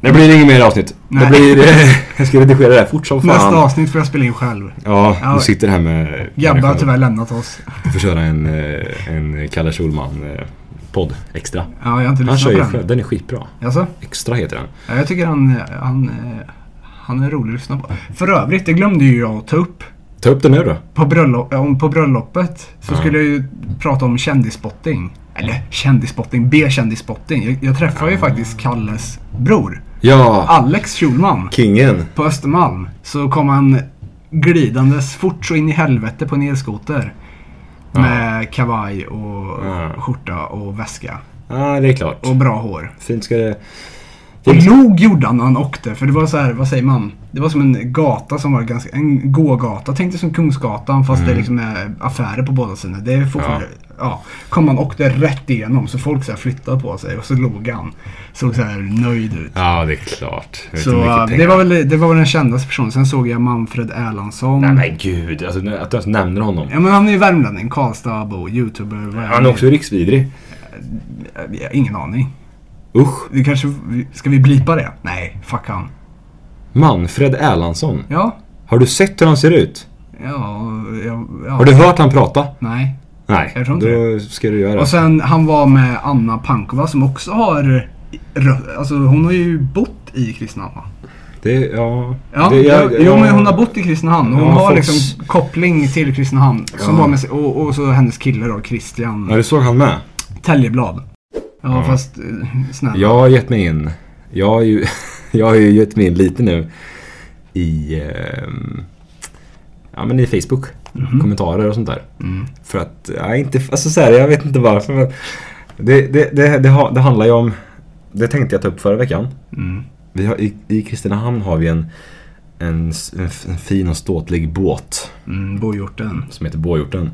Speaker 3: Det blir inget mer avsnitt.
Speaker 4: Nej.
Speaker 3: Det blir... eh, jag ska redigera det här fort som fan.
Speaker 4: Nästa avsnitt får jag spela in själv.
Speaker 3: Ja,
Speaker 4: Ja.
Speaker 3: du sitter här med...
Speaker 4: Gabbe har
Speaker 3: med-
Speaker 4: tyvärr lämnat oss.
Speaker 3: Du får köra en, eh, en Kalle Schulman-podd extra.
Speaker 4: Ja, jag har inte
Speaker 3: Han kör
Speaker 4: lyssnat
Speaker 3: ju
Speaker 4: på
Speaker 3: själv,
Speaker 4: den.
Speaker 3: den är skitbra.
Speaker 4: Alltså,
Speaker 3: Extra heter den.
Speaker 4: ja, jag tycker han, han, eh, han är rolig att lyssna på. För övrigt, det glömde ju jag att ta upp.
Speaker 3: Ta upp den nu då.
Speaker 4: På, bröllop, om, på bröllopet så skulle jag ju prata om kändisspotting. Eller kändisspotting, B-kändisspotting. Jag, jag träffade ju faktiskt Kalles bror,
Speaker 3: Ja,
Speaker 4: Alex Schulman,
Speaker 3: kingen.
Speaker 4: på Östermalm. Så kom han glidandes fort så in i helvete på en elskoter. Med kavaj och
Speaker 3: Ja.
Speaker 4: skjorta och väska.
Speaker 3: Ja, det är klart.
Speaker 4: Och bra hår.
Speaker 3: Fint ska det...
Speaker 4: Och nog gjorde han när han åkte. För det var så här, vad säger man? Det var som en gata som var ganska, en gågata. Tänk dig som Kungsgatan fast det liksom är affärer på båda sidorna. Det är fortfarande, ja. Kom han och åkte rätt igenom så folk så här flyttade på sig och så låg han. Såg så här nöjd ut.
Speaker 5: Ja, det är klart. Jag vet inte
Speaker 4: Så
Speaker 5: hur mycket
Speaker 4: äh,
Speaker 5: pengar-
Speaker 4: det var, väl, det var väl den kändaste personen. Sen såg jag Manfred Erlandsson.
Speaker 3: Nej men gud, alltså, nu- att du ens nämner honom.
Speaker 4: Ja men han är ju värmlänning, Karlstadbo, youtuber. vad
Speaker 3: Han är också riksvidrig.
Speaker 4: Ja, Ingen aning.
Speaker 3: Usch.
Speaker 4: Det kanske, ska vi blipa det? Nej, fuck han.
Speaker 3: Manfred Erlandsson.
Speaker 4: Ja,
Speaker 3: Har du sett hur han ser ut?
Speaker 4: ja, ja. ja.
Speaker 3: Har du hört han prata?
Speaker 4: Nej.
Speaker 3: Nej,
Speaker 4: Jag tror inte
Speaker 3: då ska du göra
Speaker 4: Och
Speaker 3: det.
Speaker 4: sen han var med Anna Pankova som också har rö- Alltså hon har ju bott i Kristinehamn va?
Speaker 3: det ja,
Speaker 4: Ja,
Speaker 3: det, jag-
Speaker 4: jo
Speaker 3: jag-
Speaker 4: men hon har bott i Kristinehamn. Hon
Speaker 3: Ja, folks-
Speaker 4: har liksom koppling till Kristinehamn. Som
Speaker 3: Ja.
Speaker 4: var med sig, och, och så hennes kille då, Christian
Speaker 3: Ja, du såg han med?
Speaker 4: Täljeblad. Ja, fast eh, snälla.
Speaker 3: Jag har gett mig in. Jag har ju, jag har ju gett mig in lite nu i, ehm, ja, men i Facebook.
Speaker 4: Mhm.
Speaker 3: Kommentarer och sånt där.
Speaker 4: Mm.
Speaker 3: För att, ja, inte, alltså så här, jag vet inte varför. Men det, det, det, det, har- det handlar ju om, det tänkte jag ta upp förra veckan.
Speaker 4: Mm.
Speaker 3: Vi har, i, I Kristinehamn har vi en, en, s- en, f- en fin och ståtlig båt
Speaker 4: Mm, Bohjorten.
Speaker 3: som heter Båhjorten.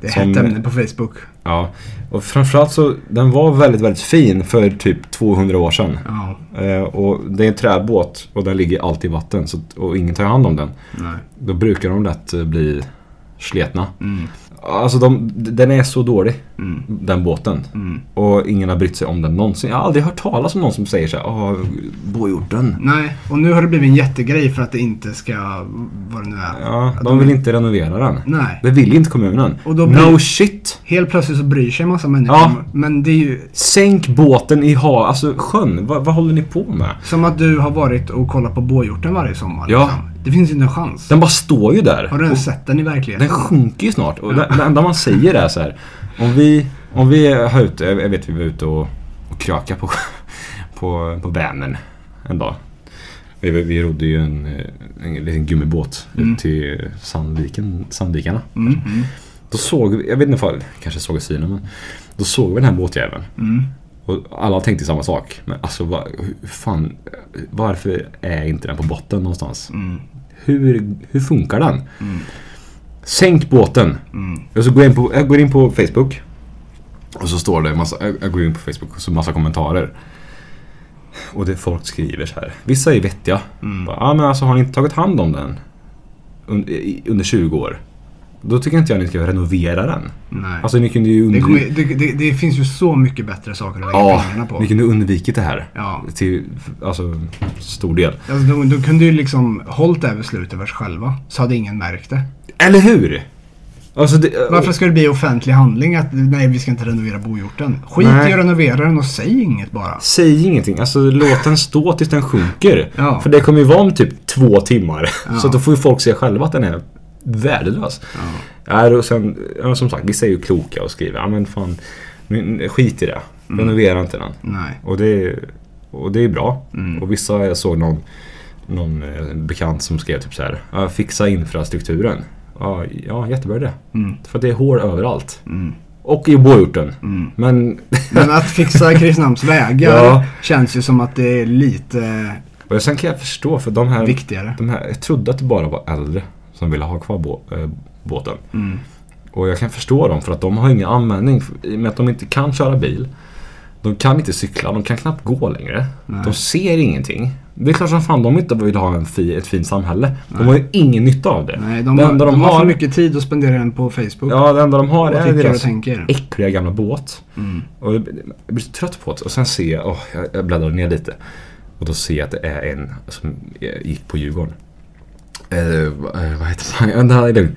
Speaker 4: Det är
Speaker 3: Som-
Speaker 4: hett ämne på Facebook.
Speaker 3: Ja, och framförallt så, den var väldigt, väldigt fin för typ 200 år sedan.
Speaker 4: Ja,
Speaker 3: Eh, och det är en träbåt och den ligger alltid i vatten så, att- och ingen tar hand om den.
Speaker 4: nej.
Speaker 3: Då brukar de lätt eh, bli sletna.
Speaker 4: Mm.
Speaker 3: Alltså de, den är så dålig,
Speaker 4: Mm.
Speaker 3: den båten.
Speaker 4: Mm.
Speaker 3: Och ingen har brytt sig om den någonsin. Jag har aldrig hört talas om någon som säger så här, "Åh, båhjorten.
Speaker 4: Nej, och nu har det blivit en jättegrej för att det inte ska, vad det nu är.
Speaker 3: Ja, de vill inte renovera den.
Speaker 4: Nej.
Speaker 3: Det vill ju inte kommunen.
Speaker 4: Och då
Speaker 3: No
Speaker 4: blir-
Speaker 3: shit!
Speaker 4: Helt plötsligt så bryr sig en massa människor.
Speaker 3: Ja.
Speaker 4: om- Men det är ju
Speaker 3: Sänk båten i ha, alltså sjön. Vad, vad håller ni på med?
Speaker 4: som att du har varit och kollat på Båhjorten varje sommar.
Speaker 3: Ja.
Speaker 4: Liksom. Det finns ju inte en chans.
Speaker 3: Den bara står ju där.
Speaker 4: Har du
Speaker 3: Och-
Speaker 4: ens sett den i verkligheten?
Speaker 3: Den sjunker ju snart. Och det, det enda man säger är så här. Om vi, om vi har ute, jag vet vi var ute och, och kröka på, på, på Vänern en dag. Vi, vi- vi rodde ju en, eh, en liten gummibåt ut till Sandviken, Sandvikarna.
Speaker 4: Mm. Mm.
Speaker 3: Då såg vi, jag vet inte ifall, kanske såg jag synen men. Då såg vi den här båtjäveln.
Speaker 4: Mm.
Speaker 3: Och alla tänkte samma sak. Men alltså va, hur fan, varför är inte den på botten någonstans?
Speaker 4: Mm.
Speaker 3: Hur, hur funkar den? Sänk båten.
Speaker 4: Mm.
Speaker 3: Och så går jag, in på, jag går in på Facebook. Och så står det en massa, jag jag går in på Facebook och så massa kommentarer. och det folk skriver så här. Vissa är vettiga.
Speaker 4: Mm.
Speaker 3: Bara, ah, men alltså har ni inte tagit hand om den un- i- under 20 år? Då tycker inte jag att ni ska renovera den.
Speaker 4: Nej.
Speaker 3: Alltså ni kunde ju
Speaker 4: det, kommer,
Speaker 3: undvika
Speaker 4: det, det, det finns ju så mycket bättre saker att lägga
Speaker 3: ja,
Speaker 4: pengarna på.
Speaker 3: ni kunde undvikit det här.
Speaker 4: Ja.
Speaker 3: Till alltså, stor del.
Speaker 4: Alltså, de, de kunde ju liksom hållit det här beslutet för sig själva. Så hade ingen märkt det.
Speaker 3: Eller hur? Alltså, det,
Speaker 4: Varför ska det bli offentlig handling att nej, vi ska inte renovera bohjorten? Skit
Speaker 3: Nej.
Speaker 4: i att renovera den och säg inget bara.
Speaker 3: Säg ingenting, alltså låt den stå tills den sjunker.
Speaker 4: Ja.
Speaker 3: För det kommer ju vara om typ två timmar. Så att då får ju folk se själva att den är värdelös. Ja. och sen, ja, som sagt, vissa är ju kloka och skriver, ja men fan, men skit i det. Renovera inte den.
Speaker 4: Mm. Nej. Mm.
Speaker 3: Och det, och det är bra. Och vissa, jag såg någon, någon eh, bekant som skrev typ så här, "Ja, fixa infrastrukturen. Ja, ja jättebra det.
Speaker 4: Mm.
Speaker 3: För det är hål överallt. Och i bohjorten.
Speaker 4: Mm.
Speaker 3: Men
Speaker 4: Men att fixa Kristinehamns vägar
Speaker 3: Ja.
Speaker 4: känns ju som att det är lite
Speaker 3: Och sen kan jag förstå för de här,
Speaker 4: viktigare.
Speaker 3: de här... Jag trodde att det bara var äldre som ville ha kvar bå, eh, båten.
Speaker 4: Mm.
Speaker 3: Och jag kan förstå dem för att de har ingen användning för, i och med att de inte kan köra bil. De kan inte cykla, de kan knappt gå längre. De ser ingenting. Det är klart som fan de inte vill ha en fi, ett fint samhälle. De har ju ingen nytta av det.
Speaker 4: Nej, de,
Speaker 3: det
Speaker 4: har, de har för mycket tid att spendera den på Facebook.
Speaker 3: Ja, det enda de har
Speaker 4: Vad
Speaker 3: är
Speaker 4: tycker och
Speaker 3: deras
Speaker 4: tänker. Mm.
Speaker 3: äckliga gamla båt. Och jag blir så trött på det. Och sen ser jag, åh, jag, jag bläddrar ner lite. Och då ser jag att det är en som eh, gick på Djurgården. Eh, vad- eh, vad heter han? Ja, Det här är lugnt.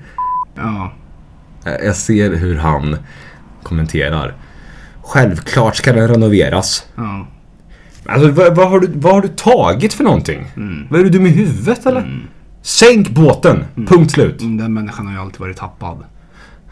Speaker 4: Ja.
Speaker 3: Eh, Jag ser hur han kommenterar. Självklart ska den renoveras.
Speaker 4: ja.
Speaker 3: Alltså vad, vad, har, du, vad har du tagit för någonting?
Speaker 4: Mm.
Speaker 3: Vad är du dum i huvudet eller? Sänk båten! Punkt slut.
Speaker 4: Den människan har ju alltid varit tappad.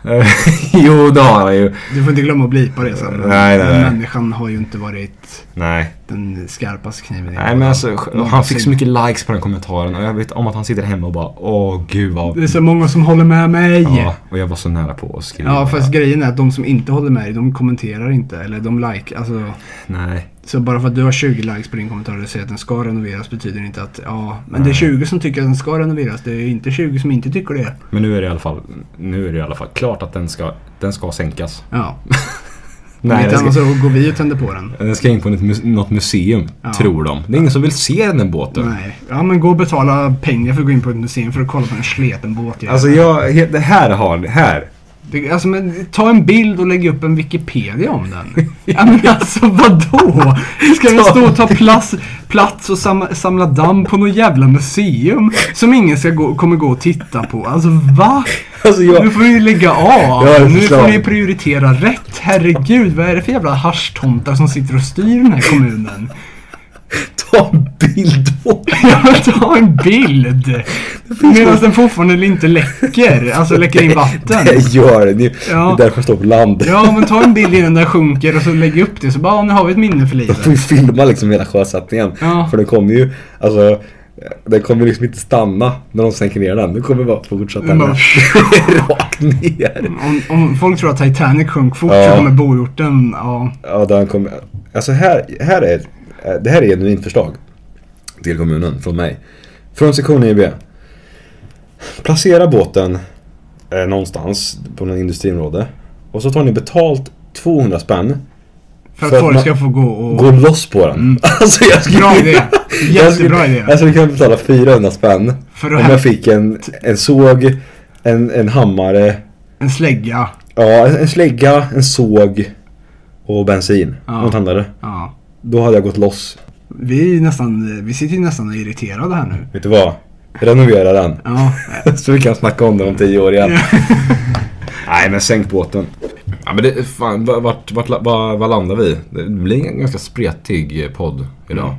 Speaker 3: Eh, jo, det har jag ju.
Speaker 4: Du får inte glömma att blipa det sen. men
Speaker 3: Nej, nej,
Speaker 4: den
Speaker 3: nej.
Speaker 4: människan har ju inte varit
Speaker 3: Nej.
Speaker 4: den skarpaste kniven i
Speaker 3: Nej men alltså, han fick
Speaker 4: Någonsin.
Speaker 3: så mycket likes på den kommentaren och jag vet om att han sitter hemma och bara åh gud vad...
Speaker 4: Det är så många som håller med mig.
Speaker 3: Ja,
Speaker 4: Ja,
Speaker 3: och jag var så nära på att skriva.
Speaker 4: fast grejen är att de som inte håller med dig, de kommenterar inte. Eller de like, alltså.
Speaker 3: Nej.
Speaker 4: Så bara för att du har 20 likes på din kommentar och säger att den ska renoveras betyder inte att, ja, men det är 20 som tycker att den ska renoveras. Det är inte 20 som inte tycker det.
Speaker 3: Men nu är det i alla fall, nu är det i alla fall klart att den ska, den ska sänkas.
Speaker 4: Ja,
Speaker 3: Nej,
Speaker 4: inte
Speaker 3: den
Speaker 4: annars
Speaker 3: ska,
Speaker 4: så går vi och tänder på den.
Speaker 3: den ska in på något mu- något museum, tror de. Det är ingen som vill se den här båten.
Speaker 4: Nej. Ja men gå och betala pengar för att gå in på ett museum för att kolla på en sleten båt. igen.
Speaker 3: Alltså jag, he- det här har, det här.
Speaker 4: det, alltså men, ta en bild och lägg upp en Wikipedia om den. ja men alltså vadå? Ska vi stå och ta plats, plats och sam, samla damm på något jävla museum som ingen ska gå, kommer gå och titta på? Alltså va?
Speaker 3: Alltså jag,
Speaker 4: Nu får vi lägga av.
Speaker 3: Jag har ett
Speaker 4: nu får
Speaker 3: förslag.
Speaker 4: vi prioritera rätt. Herregud, vad är det för jävla haschtomtar som sitter och styr den här kommunen?
Speaker 3: ta en bild på
Speaker 4: Ja, men ta en bild! Medan den fortfarande inte läcker, alltså läcker in vatten.
Speaker 3: det. Gör den ju.
Speaker 4: Ja.
Speaker 3: Det är därför den står på land.
Speaker 4: Ja, men ta en bild innan den sjunker och så lägg upp det så bara, ja, nu har vi ett minne för
Speaker 3: får
Speaker 4: livet.
Speaker 3: ju filma liksom hela sjösättningen.
Speaker 4: Ja.
Speaker 3: För den kommer ju, alltså den kommer liksom inte stanna när de sänker ner den. Den kommer bara fortsätta
Speaker 4: Den bara-
Speaker 3: ner. rakt ner.
Speaker 4: Om, om folk tror att Titanic sjönk fort
Speaker 3: Ja.
Speaker 4: så kommer bohjorten, ja.
Speaker 3: Ja, den kommer, alltså här, här är, det här är ett genuint förslag till kommunen från mig. Från sektion IB. Placera båten eh, någonstans på någon industriområde och så tar ni betalt 200 spänn. För
Speaker 4: För att
Speaker 3: att
Speaker 4: folk
Speaker 3: man-
Speaker 4: ska få gå och...
Speaker 3: Gå loss på den. Alltså jag skulle
Speaker 4: Mm. Bra idé!
Speaker 3: Jag skulle-
Speaker 4: Jättebra idé!
Speaker 3: Jag skulle kunna betala 400 spänn
Speaker 4: För att
Speaker 3: om
Speaker 4: hämta-
Speaker 3: jag fick en, en såg, en, en hammare,
Speaker 4: En slägga.
Speaker 3: ja, en, en slägga, en såg och bensin.
Speaker 4: Ja.
Speaker 3: Något handlade.
Speaker 4: Ja.
Speaker 3: Då hade jag gått loss.
Speaker 4: Vi, är nästan, vi sitter ju nästan och är irriterade här nu.
Speaker 3: Vet du vad? Renovera den.
Speaker 4: Ja,
Speaker 3: Så vi kan snacka om den om 10 år igen. Nej men sänk båten. Ja men det, fan, va- vart, vart, la- va- vad landar vi? Det blir en ganska spretig podd idag.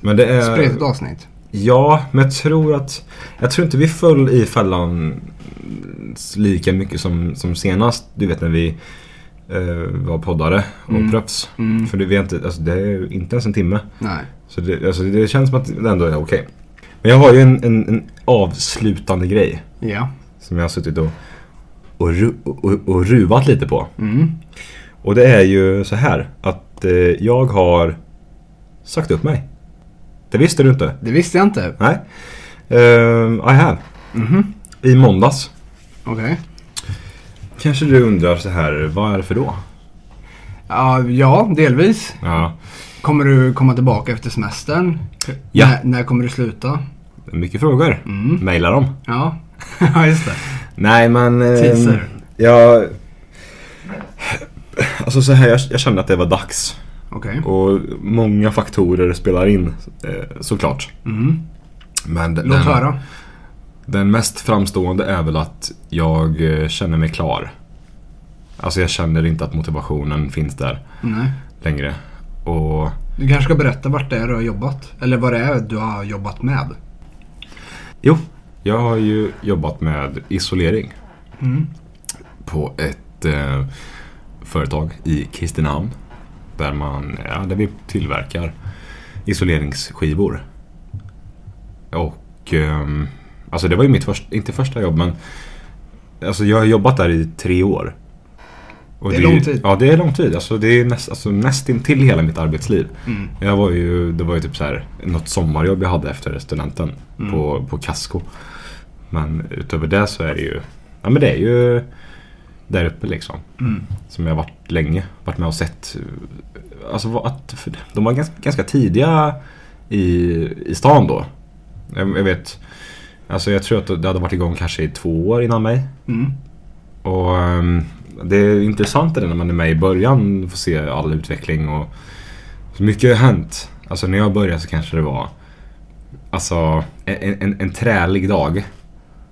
Speaker 3: Men det är...
Speaker 4: Mm. spretigt avsnitt.
Speaker 3: Ja, men jag tror att Jag tror inte vi föll i fällan lika mycket som, som senast. Du vet när vi eh, var poddare och proffs. För det, vi har inte, alltså, det är ju inte ens en timme.
Speaker 4: Nej.
Speaker 3: Så det, alltså, det känns som att det ändå är okej. Men jag har ju en, en, en avslutande grej
Speaker 4: Ja.
Speaker 3: som jag har suttit och, och, ru- och, och ruvat lite på. Och det är ju så här att eh, jag har sagt upp mig. Det visste du inte.
Speaker 4: Det visste jag inte.
Speaker 3: Nej. Ehm, I have.
Speaker 4: Mhm.
Speaker 3: I måndags.
Speaker 4: Okej.
Speaker 3: Kanske du undrar så här, varför då?
Speaker 4: Ja, ja, delvis.
Speaker 3: Ja.
Speaker 4: Kommer du komma tillbaka efter semestern?
Speaker 3: Ja.
Speaker 4: När, när kommer du sluta?
Speaker 3: Mycket frågor.
Speaker 4: Mm.
Speaker 3: Maila dem.
Speaker 4: Ja, ja just det.
Speaker 3: Nej men... eh,
Speaker 4: Teaser.
Speaker 3: Jag... Alltså så här, jag, jag kände att det var dags.
Speaker 4: Okej.
Speaker 3: Och många faktorer spelar in eh, såklart.
Speaker 4: Mm.
Speaker 3: Men d-
Speaker 4: Låt
Speaker 3: den,
Speaker 4: höra.
Speaker 3: den mest framstående är väl att jag eh, känner mig klar. Alltså jag känner inte att motivationen finns där
Speaker 4: Nej.
Speaker 3: längre. Och
Speaker 4: Du kanske ska berätta vart det är du har jobbat? Eller vad det är du har jobbat med?
Speaker 3: Jo, jag har ju jobbat med isolering. På ett eh, företag i Kristinehamn. Där, man, ja, där vi tillverkar isoleringsskivor. Och ehm, alltså det var ju mitt första, inte första jobb men alltså jag har jobbat där i tre år. Och
Speaker 4: Det är
Speaker 3: ju-
Speaker 4: lång tid.
Speaker 3: Ja det är lång tid. Alltså det är näst, alltså nästintill hela mitt arbetsliv.
Speaker 4: Mm.
Speaker 3: Jag var ju, det var ju typ så här, något sommarjobb jag hade efter studenten
Speaker 4: Mm.
Speaker 3: på, på Casco. Men utöver det så är det ju, ja men det är ju där uppe liksom.
Speaker 4: Mm.
Speaker 3: Som jag har varit länge, varit med och sett. eh, Alltså vad- att, för de var ganska, ganska tidiga i, i stan då. Jag, jag vet, alltså jag tror att det hade varit igång kanske i två år innan mig.
Speaker 4: Mm.
Speaker 3: Och ehm, det är intressant det där när man är med i början och får se all utveckling och så mycket har hänt. Alltså när jag började så kanske det var alltså en, en, en trälig dag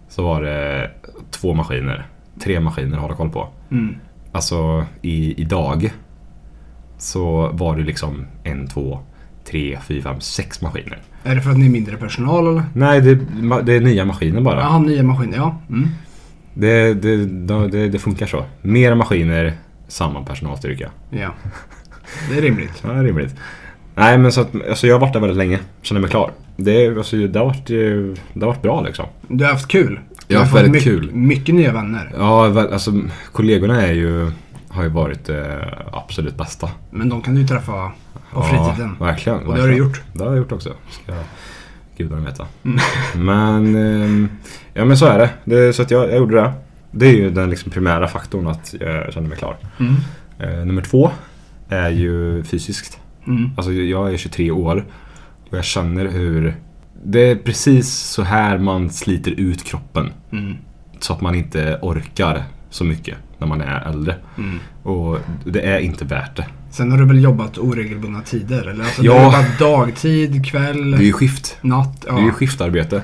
Speaker 3: så var det två maskiner, tre maskiner att hålla koll på.
Speaker 4: Mm.
Speaker 3: Alltså i, idag så var det liksom en, två, tre, fyra, fem, sex maskiner.
Speaker 4: Är det för att ni är mindre personal eller?
Speaker 3: Nej, det, ma- det är nya maskiner bara.
Speaker 4: Jaha, nya maskiner ja. Mm.
Speaker 3: Det, det, det, det funkar så. Mer maskiner, samma personalstyrka.
Speaker 4: Ja. Det är rimligt.
Speaker 3: Ja, det är rimligt. Nej, men så att, alltså jag har varit där väldigt länge. Känner mig klar. Det, är- alltså, det, har, varit, eh, det har varit bra liksom.
Speaker 4: Du har haft kul. Du
Speaker 3: Jag har haft
Speaker 4: fått
Speaker 3: väldigt kul.
Speaker 4: Mycket nya vänner.
Speaker 3: Ja, väl, alltså kollegorna är ju, har ju varit eh, absolut bästa.
Speaker 4: Men de kan du ju träffa på fritiden.
Speaker 3: Ja, verkligen.
Speaker 4: Och det har du gjort. Mm.
Speaker 3: Det har jag gjort också. Ska gudarna veta. Men, ehm, ja men så är det. det så att jag, jag gjorde det. Det är ju den liksom primära faktorn att jag känner mig klar.
Speaker 4: Mm.
Speaker 3: Eh, nummer två är ju fysiskt.
Speaker 4: Mm.
Speaker 3: Alltså jag är 23 år och jag känner hur det är precis så här man sliter ut kroppen.
Speaker 4: Mm.
Speaker 3: Så att man inte orkar så mycket när man är äldre.
Speaker 4: Mm.
Speaker 3: Och det är inte värt det.
Speaker 4: Sen har du väl jobbat oregelbundna tider? Eller? Alltså, Du
Speaker 3: Ja.
Speaker 4: har jobbat dagtid, kväll,
Speaker 3: Det är ju skift.
Speaker 4: natt. Ja.
Speaker 3: Det är ju skiftarbete.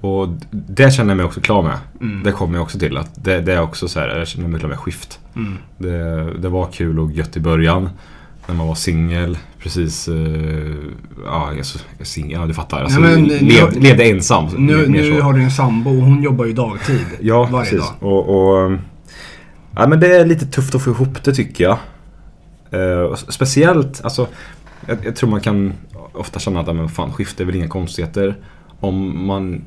Speaker 3: Och det känner jag mig också klar med.
Speaker 4: Mm.
Speaker 3: Det kommer jag också till. Att det, det är också så här, jag känner mig klar med skift.
Speaker 4: Mm.
Speaker 3: Det, det var kul och gött i början. När man var singel, precis... eh, ja, alltså, singel, ja, du fattar. Alltså,
Speaker 4: Nej, men nu-
Speaker 3: lev, levde ensam.
Speaker 4: nu
Speaker 3: mer- mer
Speaker 4: nu
Speaker 3: så.
Speaker 4: har du en sambo och hon jobbar ju dagtid
Speaker 3: Ja,
Speaker 4: varje
Speaker 3: precis.
Speaker 4: dag.
Speaker 3: Och, och, um, ja, men det är lite tufft att få ihop det tycker jag. Eh, och s- speciellt, alltså, jag, jag tror man kan ofta känna att ja, men fan, skifte är väl inga konstigheter. Om man,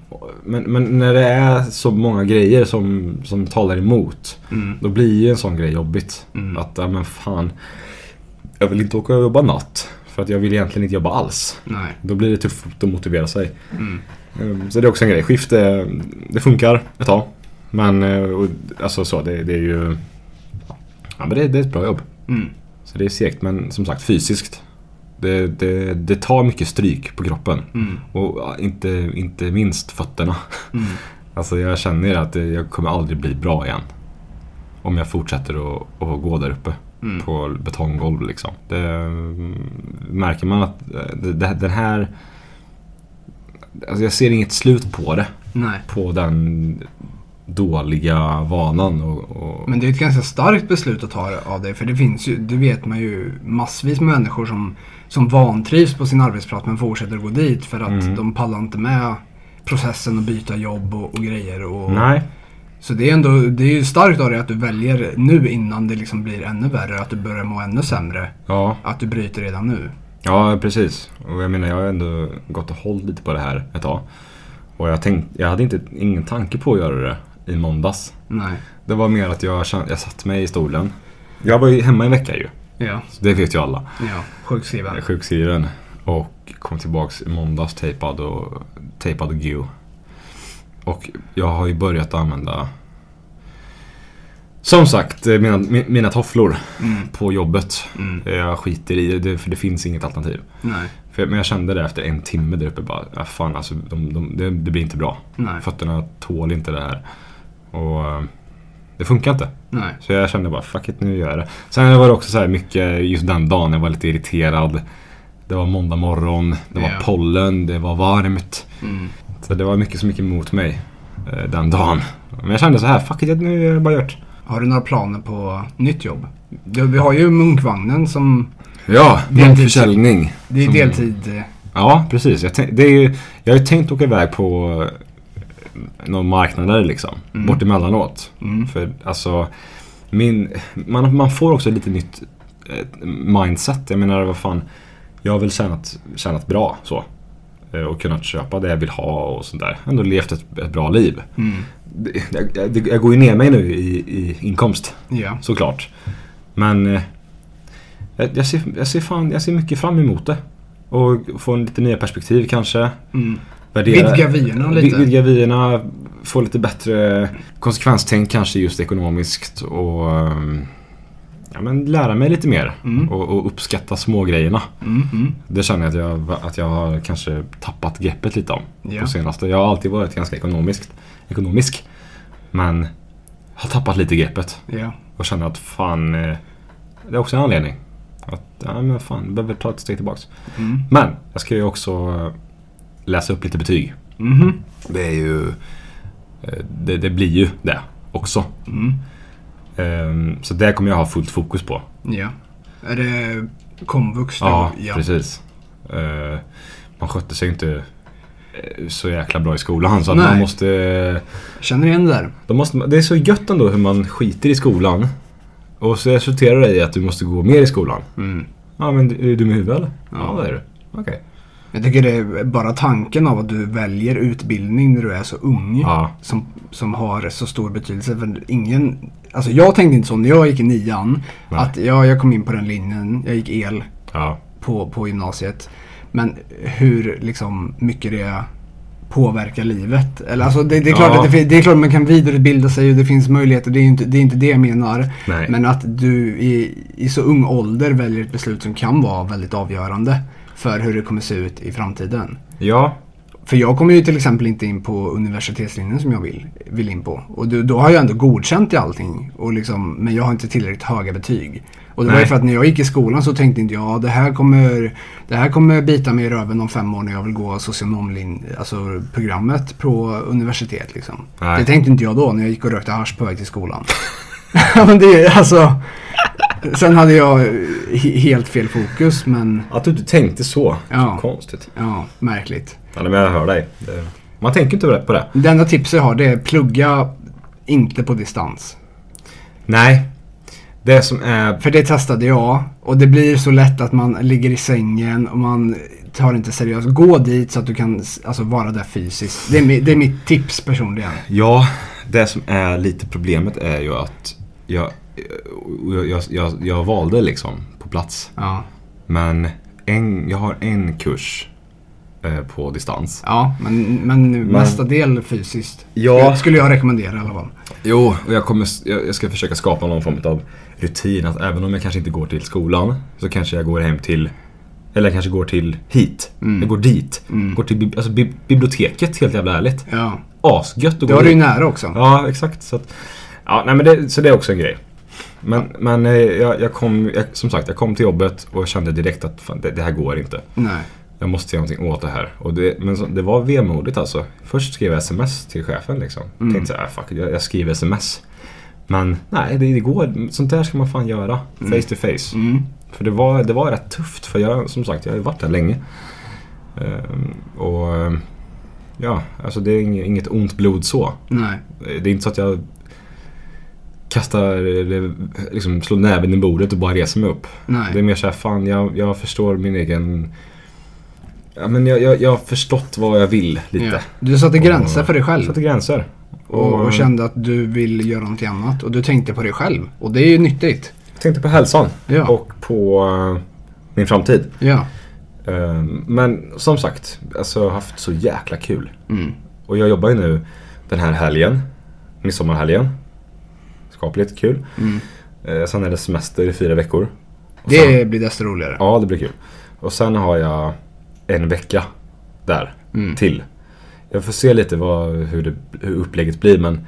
Speaker 3: men, men när det är så många grejer som, som talar emot,
Speaker 4: Mm.
Speaker 3: då blir ju en sån grej jobbigt. Att, ja, men fan, jag vill inte åka och jobba natt. För att jag vill egentligen inte jobba alls.
Speaker 4: Nej.
Speaker 3: Då blir det tufft att motivera sig. Ehm, Så det är också en grej. Skift, eh, det funkar ett tag. Men eh, och, alltså så, det, det är ju... Ja, men det, det är ett bra jobb.
Speaker 4: Mm.
Speaker 3: Så det är segt, men som sagt fysiskt. Det, det, det tar mycket stryk på kroppen. Och ja, inte, inte minst fötterna. Alltså jag känner att det- jag kommer aldrig bli bra igen. Om jag fortsätter att, att gå där uppe. På betonggolv liksom. Det, mm, märker man att eh, det, det, den här... Alltså jag ser inget slut på det.
Speaker 4: Nej.
Speaker 3: På den dåliga vanan. Och, och,
Speaker 4: Men det är ett ganska starkt beslut att ta av dig. För det finns ju, det vet man ju, massvis med människor som, som vantrivs på sin arbetsplats men fortsätter att gå dit för att
Speaker 3: Mm.
Speaker 4: de pallar inte med processen att byta jobb och, och grejer. Och,
Speaker 3: nej.
Speaker 4: Så det är, ändå, det är ju starkt av dig att du väljer nu innan det liksom blir ännu värre, att du börjar må ännu sämre.
Speaker 3: Ja.
Speaker 4: Att du bryter redan nu.
Speaker 3: Ja, precis. Och jag menar, jag har ändå gått och hållit lite på det här ett tag. Och jag, tänkte, jag hade inte, ingen tanke på att göra det i måndags.
Speaker 4: Nej.
Speaker 3: Det var mer att jag, kände, jag satt mig i stolen. Jag var ju hemma en vecka ju.
Speaker 4: Ja.
Speaker 3: Så det vet ju alla.
Speaker 4: Ja,
Speaker 3: Jag
Speaker 4: sjukskriven.
Speaker 3: är sjukskriven. Och kom tillbaks i måndags tejpad och, tejpad och geo. Och jag har ju börjat använda Som sagt, eh, mina, mi- mina tofflor på jobbet. Eh, Jag skiter i det, det, för det finns inget alternativ.
Speaker 4: Nej.
Speaker 3: För, jag- men jag kände det efter en timme där uppe bara, ah, fan alltså de, de, det, det blir inte bra.
Speaker 4: Nej.
Speaker 3: Fötterna tål inte det här. Och eh, det funkar inte.
Speaker 4: Nej.
Speaker 3: Så jag kände bara, fuck it, nu gör jag det. Sen var det också så här mycket, just den dagen jag var lite irriterad. Det var måndag morgon, det var
Speaker 4: Ja.
Speaker 3: pollen, det var varmt. Så det var mycket som gick emot mig eh, den dagen. Men jag kände så här, fuck it, nu är det bara gjort.
Speaker 4: Har du några planer på nytt jobb? Ja, Vi har ju Munkvagnen som...
Speaker 3: Ja,
Speaker 4: Deltid.
Speaker 3: försäljning.
Speaker 4: Det är
Speaker 3: Som-
Speaker 4: deltid. eh,
Speaker 3: Ja, precis. Jag, tänk, det är ju, jag har ju tänkt åka iväg på eh, någon marknader liksom. Bort emellanåt. För alltså, min, man, man får också lite nytt eh, mindset. Jag menar, vad fan. Jag har väl tjänat, tjänat bra så. Eh, Och kunnat köpa det jag vill ha och sånt där. Ändå levt ett, ett bra liv. Det, jag, det, jag går ju ner mig nu i, i inkomst
Speaker 4: Ja.
Speaker 3: såklart. Men eh, jag, jag, ser, jag, ser fan, jag ser mycket fram emot det. Och få en lite nya perspektiv kanske.
Speaker 4: Mm.
Speaker 3: Värdera-
Speaker 4: Vidga vyerna
Speaker 3: Vid-
Speaker 4: lite.
Speaker 3: Vidga vyerna, få lite bättre konsekvenstänk kanske just ekonomiskt. Och ehm, ja, men lära mig lite mer och, och uppskatta smågrejerna.
Speaker 4: Mm, mm.
Speaker 3: Det känner jag att jag, att jag har kanske tappat greppet lite om.
Speaker 4: Ja.
Speaker 3: På senaste. Jag har alltid varit ganska ekonomiskt, ekonomisk. Men har tappat lite greppet.
Speaker 4: Ja.
Speaker 3: Och känner att fan, eh, det är också en anledning. Att, ja men fan, jag behöver ta ett steg tillbaks.
Speaker 4: Mm.
Speaker 3: Men, jag ska ju också eh, läsa upp lite betyg.
Speaker 4: Mhm.
Speaker 3: Det är ju, eh, det, det blir ju det också.
Speaker 4: Mm.
Speaker 3: Ehm, Så det kommer jag ha fullt fokus på.
Speaker 4: Ja. Är det komvux då?
Speaker 3: Ja, precis. Eh, Man skötte sig inte eh, så jäkla bra i skolan så att
Speaker 4: Nej.
Speaker 3: man måste eh,
Speaker 4: Känner igen det där?
Speaker 3: Då måste man, det är så gött ändå hur man skiter i skolan. Och så resulterar det i att du måste gå mer i skolan.
Speaker 4: Mm.
Speaker 3: Ja men är du dum i huvudet eller? Ja,
Speaker 4: Ja.
Speaker 3: det är du. Okej.
Speaker 4: Jag tycker det är bara tanken av att du väljer utbildning när du är så ung
Speaker 3: Ja.
Speaker 4: som, som har så stor betydelse. För ingen, alltså jag tänkte inte så när jag gick i nian.
Speaker 3: Nej.
Speaker 4: Att jag, jag kom in på den linjen, jag gick el
Speaker 3: Ja.
Speaker 4: på, på gymnasiet. Men hur liksom, mycket det påverkar livet. Eller, alltså, det, det, är klart
Speaker 3: Ja.
Speaker 4: att det, fin- det är klart man kan vidareutbilda sig och det finns möjligheter. Det är ju inte det, är inte det jag menar.
Speaker 3: Nej.
Speaker 4: Men att du i, i så ung ålder väljer ett beslut som kan vara väldigt avgörande för hur det kommer se ut i framtiden.
Speaker 3: Ja.
Speaker 4: För jag kommer ju till exempel inte in på universitetslinjen som jag vill, vill in på. Och då, då har jag ändå godkänt i allting. Och liksom, men jag har inte tillräckligt höga betyg. Och det var ju
Speaker 3: Nej.
Speaker 4: för att när jag gick i skolan så tänkte inte jag det här kommer, det här kommer bita mig i röven om fem år när jag vill gå socionomlin, alltså programmet på universitet. Liksom.
Speaker 3: Nej.
Speaker 4: Det tänkte inte jag då när jag gick och rökte hasch på väg till skolan. Ja, men det är ju alltså, sen hade jag he- helt fel fokus men
Speaker 3: Att du inte tänkte så.
Speaker 4: Ja.
Speaker 3: Konstigt.
Speaker 4: ja, märkligt.
Speaker 3: Ja, men jag hör dig. Det- Man tänker inte på det.
Speaker 4: Det enda tipset jag har det är plugga inte på distans.
Speaker 3: Nej. Det som är...
Speaker 4: För det testade jag och det blir så lätt att man ligger i sängen och man tar inte seriöst. Gå dit så att du kan s- alltså, vara där fysiskt. Det är, mi- det är mitt tips personligen.
Speaker 3: Ja, det som är lite problemet är ju att jag, jag, jag, jag, jag valde liksom på plats.
Speaker 4: Ja,
Speaker 3: Men en, jag har en kurs eh, på distans.
Speaker 4: ja men, men, mesta del fysiskt.
Speaker 3: Ja.
Speaker 4: Det Skulle jag rekommendera i alla fall.
Speaker 3: Jo, och jag, kommer, jag jag ska försöka skapa någon form av rutin. Att även om jag kanske inte går till skolan så kanske jag går hem till, eller jag kanske går till hit.
Speaker 4: Mm.
Speaker 3: Jag går dit. Går till bib- alltså, bib- biblioteket helt jävla ärligt.
Speaker 4: Ja.
Speaker 3: Asgött att
Speaker 4: Det
Speaker 3: gå
Speaker 4: har du ju
Speaker 3: dit.
Speaker 4: nära också.
Speaker 3: Mm. Ja, exakt. Så, att, ja, nej, men det, så det är också en grej. Men, men eh, jag, jag kom, jag, som sagt, jag kom till jobbet och jag kände direkt att fan, det, det här går inte.
Speaker 4: Nej.
Speaker 3: Jag måste göra någonting åt det här. Och det, men så, det var vemodigt alltså. Först skrev jag sms till chefen liksom. Tänkte såhär, fuck it, jag, jag skriver sms. Men nej, det, det går. Sånt där ska man fan göra. Face to face. För det var, det var rätt tufft. För jag, som sagt, jag har ju varit där länge. Ehm, och ehm, ja, alltså det är inget, inget ont blod så.
Speaker 4: Nej.
Speaker 3: Eh, Det är inte så att jag kastar, eller liksom slår näven i bordet och bara reser mig upp.
Speaker 4: Nej.
Speaker 3: Det är mer såhär, fan jag, jag förstår min egen... Ja, men jag, jag, jag har förstått vad jag vill lite. Mm.
Speaker 4: Ja. Du satte gränser för dig själv.
Speaker 3: Sätter gränser.
Speaker 4: Och,
Speaker 3: Mm.
Speaker 4: och kände att du vill göra någonting annat. Och du tänkte på dig själv. Och det är ju nyttigt.
Speaker 3: Jag tänkte på hälsan
Speaker 4: Ja.
Speaker 3: och på eh, min framtid.
Speaker 4: Ja.
Speaker 3: Eh, Men som sagt, alltså, jag har haft så jäkla kul.
Speaker 4: Mm.
Speaker 3: Och jag jobbar ju nu den här helgen, midsommarhelgen. Ska skapligt kul.
Speaker 4: Mm.
Speaker 3: Eh, sen är det semester i fyra veckor. Och sen,
Speaker 4: Det blir desto roligare.
Speaker 3: ja, det blir kul. Och sen har jag en vecka där
Speaker 4: Mm.
Speaker 3: till. Jag får se lite vad, hur, det, hur upplägget blir men,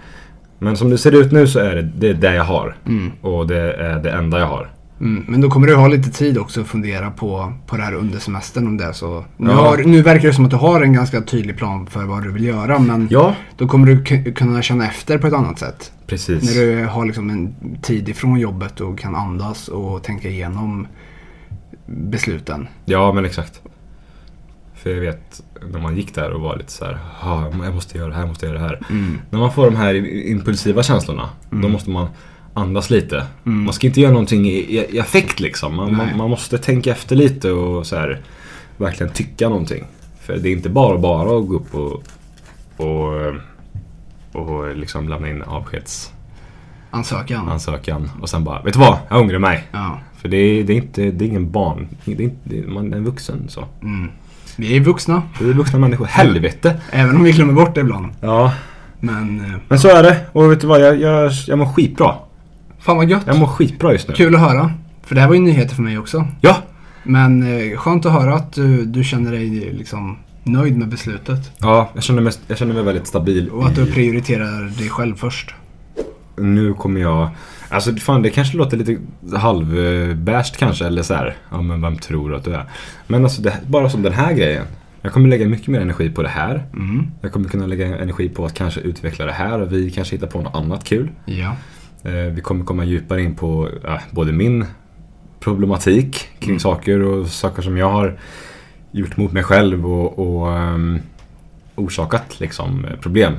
Speaker 3: men som det ser ut nu så är det det, är det jag har. Och det är det enda jag har.
Speaker 4: Mm, men då kommer du ha lite tid också att fundera på, på det här under semestern om det är så. Nu,
Speaker 3: Ja.
Speaker 4: har, nu verkar det som att du har en ganska tydlig plan för vad du vill göra men
Speaker 3: Ja,
Speaker 4: då kommer du k- kunna känna efter på ett annat sätt.
Speaker 3: precis.
Speaker 4: När du har liksom en tid ifrån jobbet och kan andas och tänka igenom besluten.
Speaker 3: Ja, men exakt. För jag vet när man gick där och var lite så här, "Ah, jag måste göra det här, jag måste göra det här. När man får de här impulsiva känslorna, då måste man andas lite. Man ska inte göra någonting i, i, i affekt liksom. Man, man, man måste tänka efter lite och så här, verkligen tycka någonting. För det är inte bara bara att gå upp och, och, och liksom lämna in avskedsansökan
Speaker 4: Ansökan.
Speaker 3: och sen bara, vet du vad? Jag ångrar mig.
Speaker 4: Ja.
Speaker 3: För det är, det är inte, det är ingen barn. Det är inte, det är, man är en vuxen så.
Speaker 4: Vi är vuxna,
Speaker 3: Vi är vuxna människor. Helvete!
Speaker 4: även om vi glömmer bort det ibland.
Speaker 3: Ja.
Speaker 4: Men eh,
Speaker 3: Men så är det. Och vet du vad? Jag, jag, jag mår skitbra.
Speaker 4: fan vad gött.
Speaker 3: Jag mår skitbra just nu.
Speaker 4: Kul att höra. För det här var ju nyheter för mig också.
Speaker 3: Ja!
Speaker 4: Men eh, skönt att höra att du, du känner dig liksom nöjd med beslutet.
Speaker 3: Ja, jag känner mig, jag känner mig väldigt stabil.
Speaker 4: Och att du
Speaker 3: i-
Speaker 4: prioriterar dig själv först.
Speaker 3: Nu kommer jag... Alltså fan, det kanske låter lite halvbärst kanske. Eller så här. Ja, men vem tror att du är? Men alltså, det, bara som den här grejen. Jag kommer lägga mycket mer energi på det här.
Speaker 4: Mm.
Speaker 3: Jag kommer kunna lägga energi på att kanske utveckla det här. Och vi kanske hittar på något annat kul.
Speaker 4: Ja.
Speaker 3: Eh, Vi kommer komma djupare in på eh, både min problematik kring
Speaker 4: Mm.
Speaker 3: saker och saker som jag har gjort mot mig själv och, och ehm, orsakat liksom, eh, problem.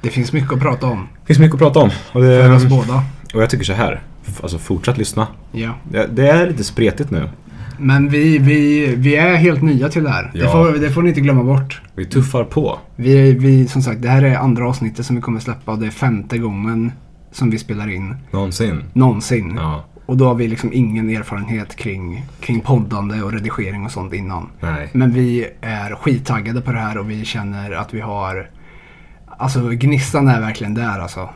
Speaker 4: Det finns mycket att prata om.
Speaker 3: Det finns mycket att prata om och,
Speaker 4: För oss
Speaker 3: det,
Speaker 4: båda.
Speaker 3: och jag tycker så här, f- alltså fortsätt lyssna.
Speaker 4: Ja.
Speaker 3: Det, det är lite spretigt nu.
Speaker 4: Men vi, vi, vi är helt nya till det här. Det,
Speaker 3: Ja.
Speaker 4: får, det får ni inte glömma bort.
Speaker 3: Vi tuffar på.
Speaker 4: Vi, vi, som sagt, det här är andra avsnittet som vi kommer släppa och det är femte gången som vi spelar in
Speaker 3: Någonsin.
Speaker 4: någonsin.
Speaker 3: Ja,
Speaker 4: Och då har vi liksom ingen erfarenhet kring, kring poddande och redigering och sånt innan.
Speaker 3: nej.
Speaker 4: Men vi är skittaggade på det här och vi känner att vi har... Alltså gnistan är verkligen där alltså.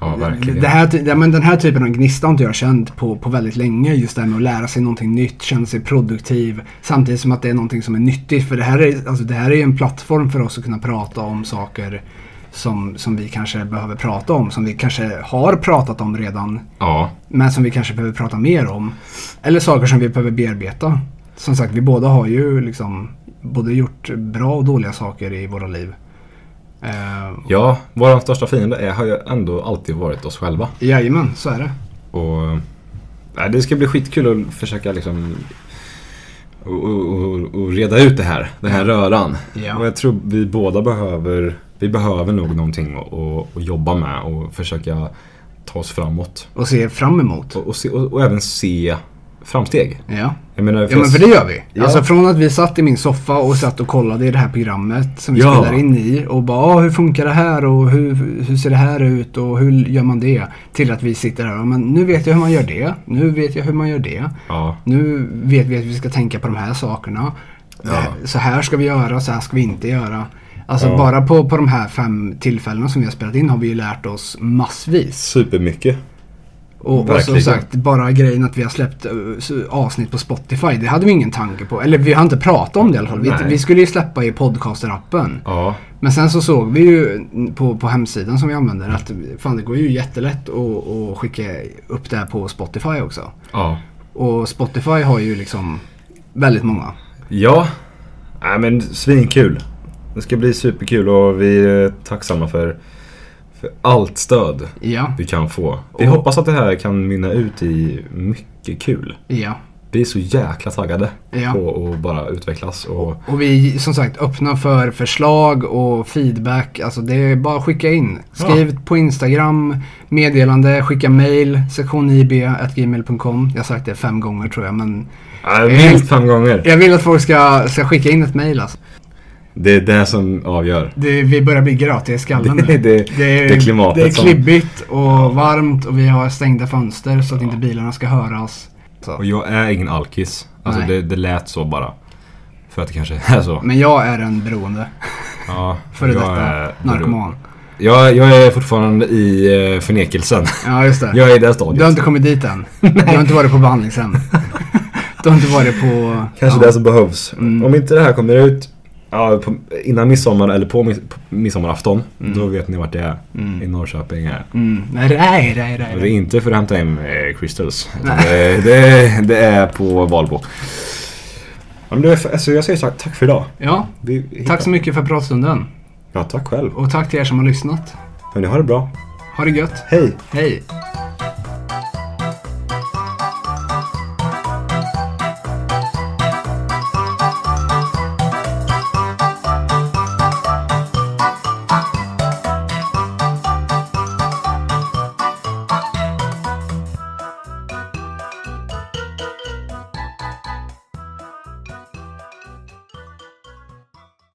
Speaker 3: Ja, verkligen.
Speaker 4: Det här, ty- ja, men den här typen av gnista har inte jag känt på, på väldigt länge. Just det här med att lära sig någonting nytt, känna sig produktiv. Samtidigt som att det är någonting som är nyttigt. För det här är, alltså, det här är en plattform för oss att kunna prata om saker som, som vi kanske behöver prata om. Som vi kanske har pratat om redan.
Speaker 3: Ja,
Speaker 4: Men som vi kanske behöver prata mer om. Eller saker som vi behöver bearbeta. Som sagt, vi båda har ju liksom både gjort bra och dåliga saker i våra liv. Eh,
Speaker 3: ja vår största fiende är, har ju ändå alltid varit oss själva.
Speaker 4: jajamän, så är det.
Speaker 3: Och, nej, det ska bli skitkul att försöka liksom och, och, och, och reda ut det här, den här röran.
Speaker 4: Ja.
Speaker 3: Och jag tror vi båda behöver, vi behöver nog någonting att, att, att jobba med och försöka ta oss framåt.
Speaker 4: Och se fram emot.
Speaker 3: Och, och, se, och, och även se framsteg.
Speaker 4: Ja.
Speaker 3: Jag menar,
Speaker 4: Ja men för det gör vi.
Speaker 3: Ja.
Speaker 4: Alltså från att vi satt i min soffa och satt och kollade i det här programmet som vi
Speaker 3: Ja.
Speaker 4: spelar in i och bara ah, hur funkar det här och hur, hur ser det här ut och hur gör man det? Till att vi sitter här och men nu vet jag hur man gör det. Nu vet jag hur man gör det.
Speaker 3: Ja,
Speaker 4: Nu vet vi att vi ska tänka på de här sakerna. Eh, Så här ska vi göra, så här ska vi inte göra. Alltså bara på, på de här fem tillfällena som vi har spelat in har vi ju lärt oss massvis.
Speaker 3: supermycket.
Speaker 4: Och, och som
Speaker 3: Verkligen.
Speaker 4: sagt, bara grejen att vi har släppt eh, s- avsnitt på Spotify, det hade vi ingen tanke på. Eller vi har inte pratat om det i alla fall. Vi,
Speaker 3: Nej.
Speaker 4: vi skulle ju släppa i podcaster-appen.
Speaker 3: Ja,
Speaker 4: Men sen så såg vi ju på, på hemsidan som vi använder att fan det går ju jättelätt att, att skicka upp det här på Spotify också.
Speaker 3: ja.
Speaker 4: Och Spotify har ju liksom väldigt många.
Speaker 3: Ja, nej men svinkul. Det ska bli superkul och vi är tacksamma för, för allt stöd.
Speaker 4: Ja,
Speaker 3: vi kan få. Vi
Speaker 4: Och-
Speaker 3: hoppas att det här kan mynna ut i mycket kul.
Speaker 4: ja.
Speaker 3: Vi är så jäkla taggade
Speaker 4: Ja.
Speaker 3: på att bara utvecklas. Och,
Speaker 4: Och vi är som sagt öppna för förslag och feedback. Alltså det är bara att skicka in. Skriv på Instagram, meddelande, skicka mail, sektionib.gmail.com. Jag har sagt det fem gånger tror jag men
Speaker 3: Ja, minst fem gånger.
Speaker 4: jag vill att folk ska, ska skicka in ett mail alltså.
Speaker 3: Det är det som avgör.
Speaker 4: Det, vi börjar bli grötiga i skallen
Speaker 3: Det,
Speaker 4: nu.
Speaker 3: är- det, det är klimatet
Speaker 4: Det är
Speaker 3: som...
Speaker 4: klibbigt och varmt och vi har stängda fönster så att inte bilarna ska höras.
Speaker 3: Och jag är ingen alkis. Alltså
Speaker 4: Nej.
Speaker 3: det, det lät så bara. För att det kanske är så.
Speaker 4: Men jag är en beroende,
Speaker 3: Ja,
Speaker 4: före
Speaker 3: jag
Speaker 4: detta
Speaker 3: är-
Speaker 4: narkoman.
Speaker 5: Jag, jag är fortfarande i eh, förnekelsen.
Speaker 4: Ja, just det.
Speaker 5: Jag är i det
Speaker 4: Du har
Speaker 5: stadiet.
Speaker 4: inte kommit dit än. Du har inte varit på behandlingshem. Du har inte varit på...
Speaker 3: Kanske
Speaker 4: ja.
Speaker 3: det som behövs. Om inte det här kommer ut ja, på, innan midsommar eller på, mis- på midsommarafton. Då vet ni vart det är. I Norrköping här.
Speaker 4: Mm. Nej, nej, nej,
Speaker 5: Och det är
Speaker 4: nej.
Speaker 5: inte för att hämta hem eh, crystals. utan Det, det, det är på Valbo.
Speaker 3: Ja, men du, alltså, jag säger så här, tack för idag.
Speaker 4: Ja,
Speaker 3: Vi,
Speaker 4: tack så mycket för pratstunden.
Speaker 3: Ja, tack själv.
Speaker 4: Och tack till er som har lyssnat.
Speaker 3: Hörni, ha det bra.
Speaker 4: Ha det gött.
Speaker 3: Hej!
Speaker 4: Hej.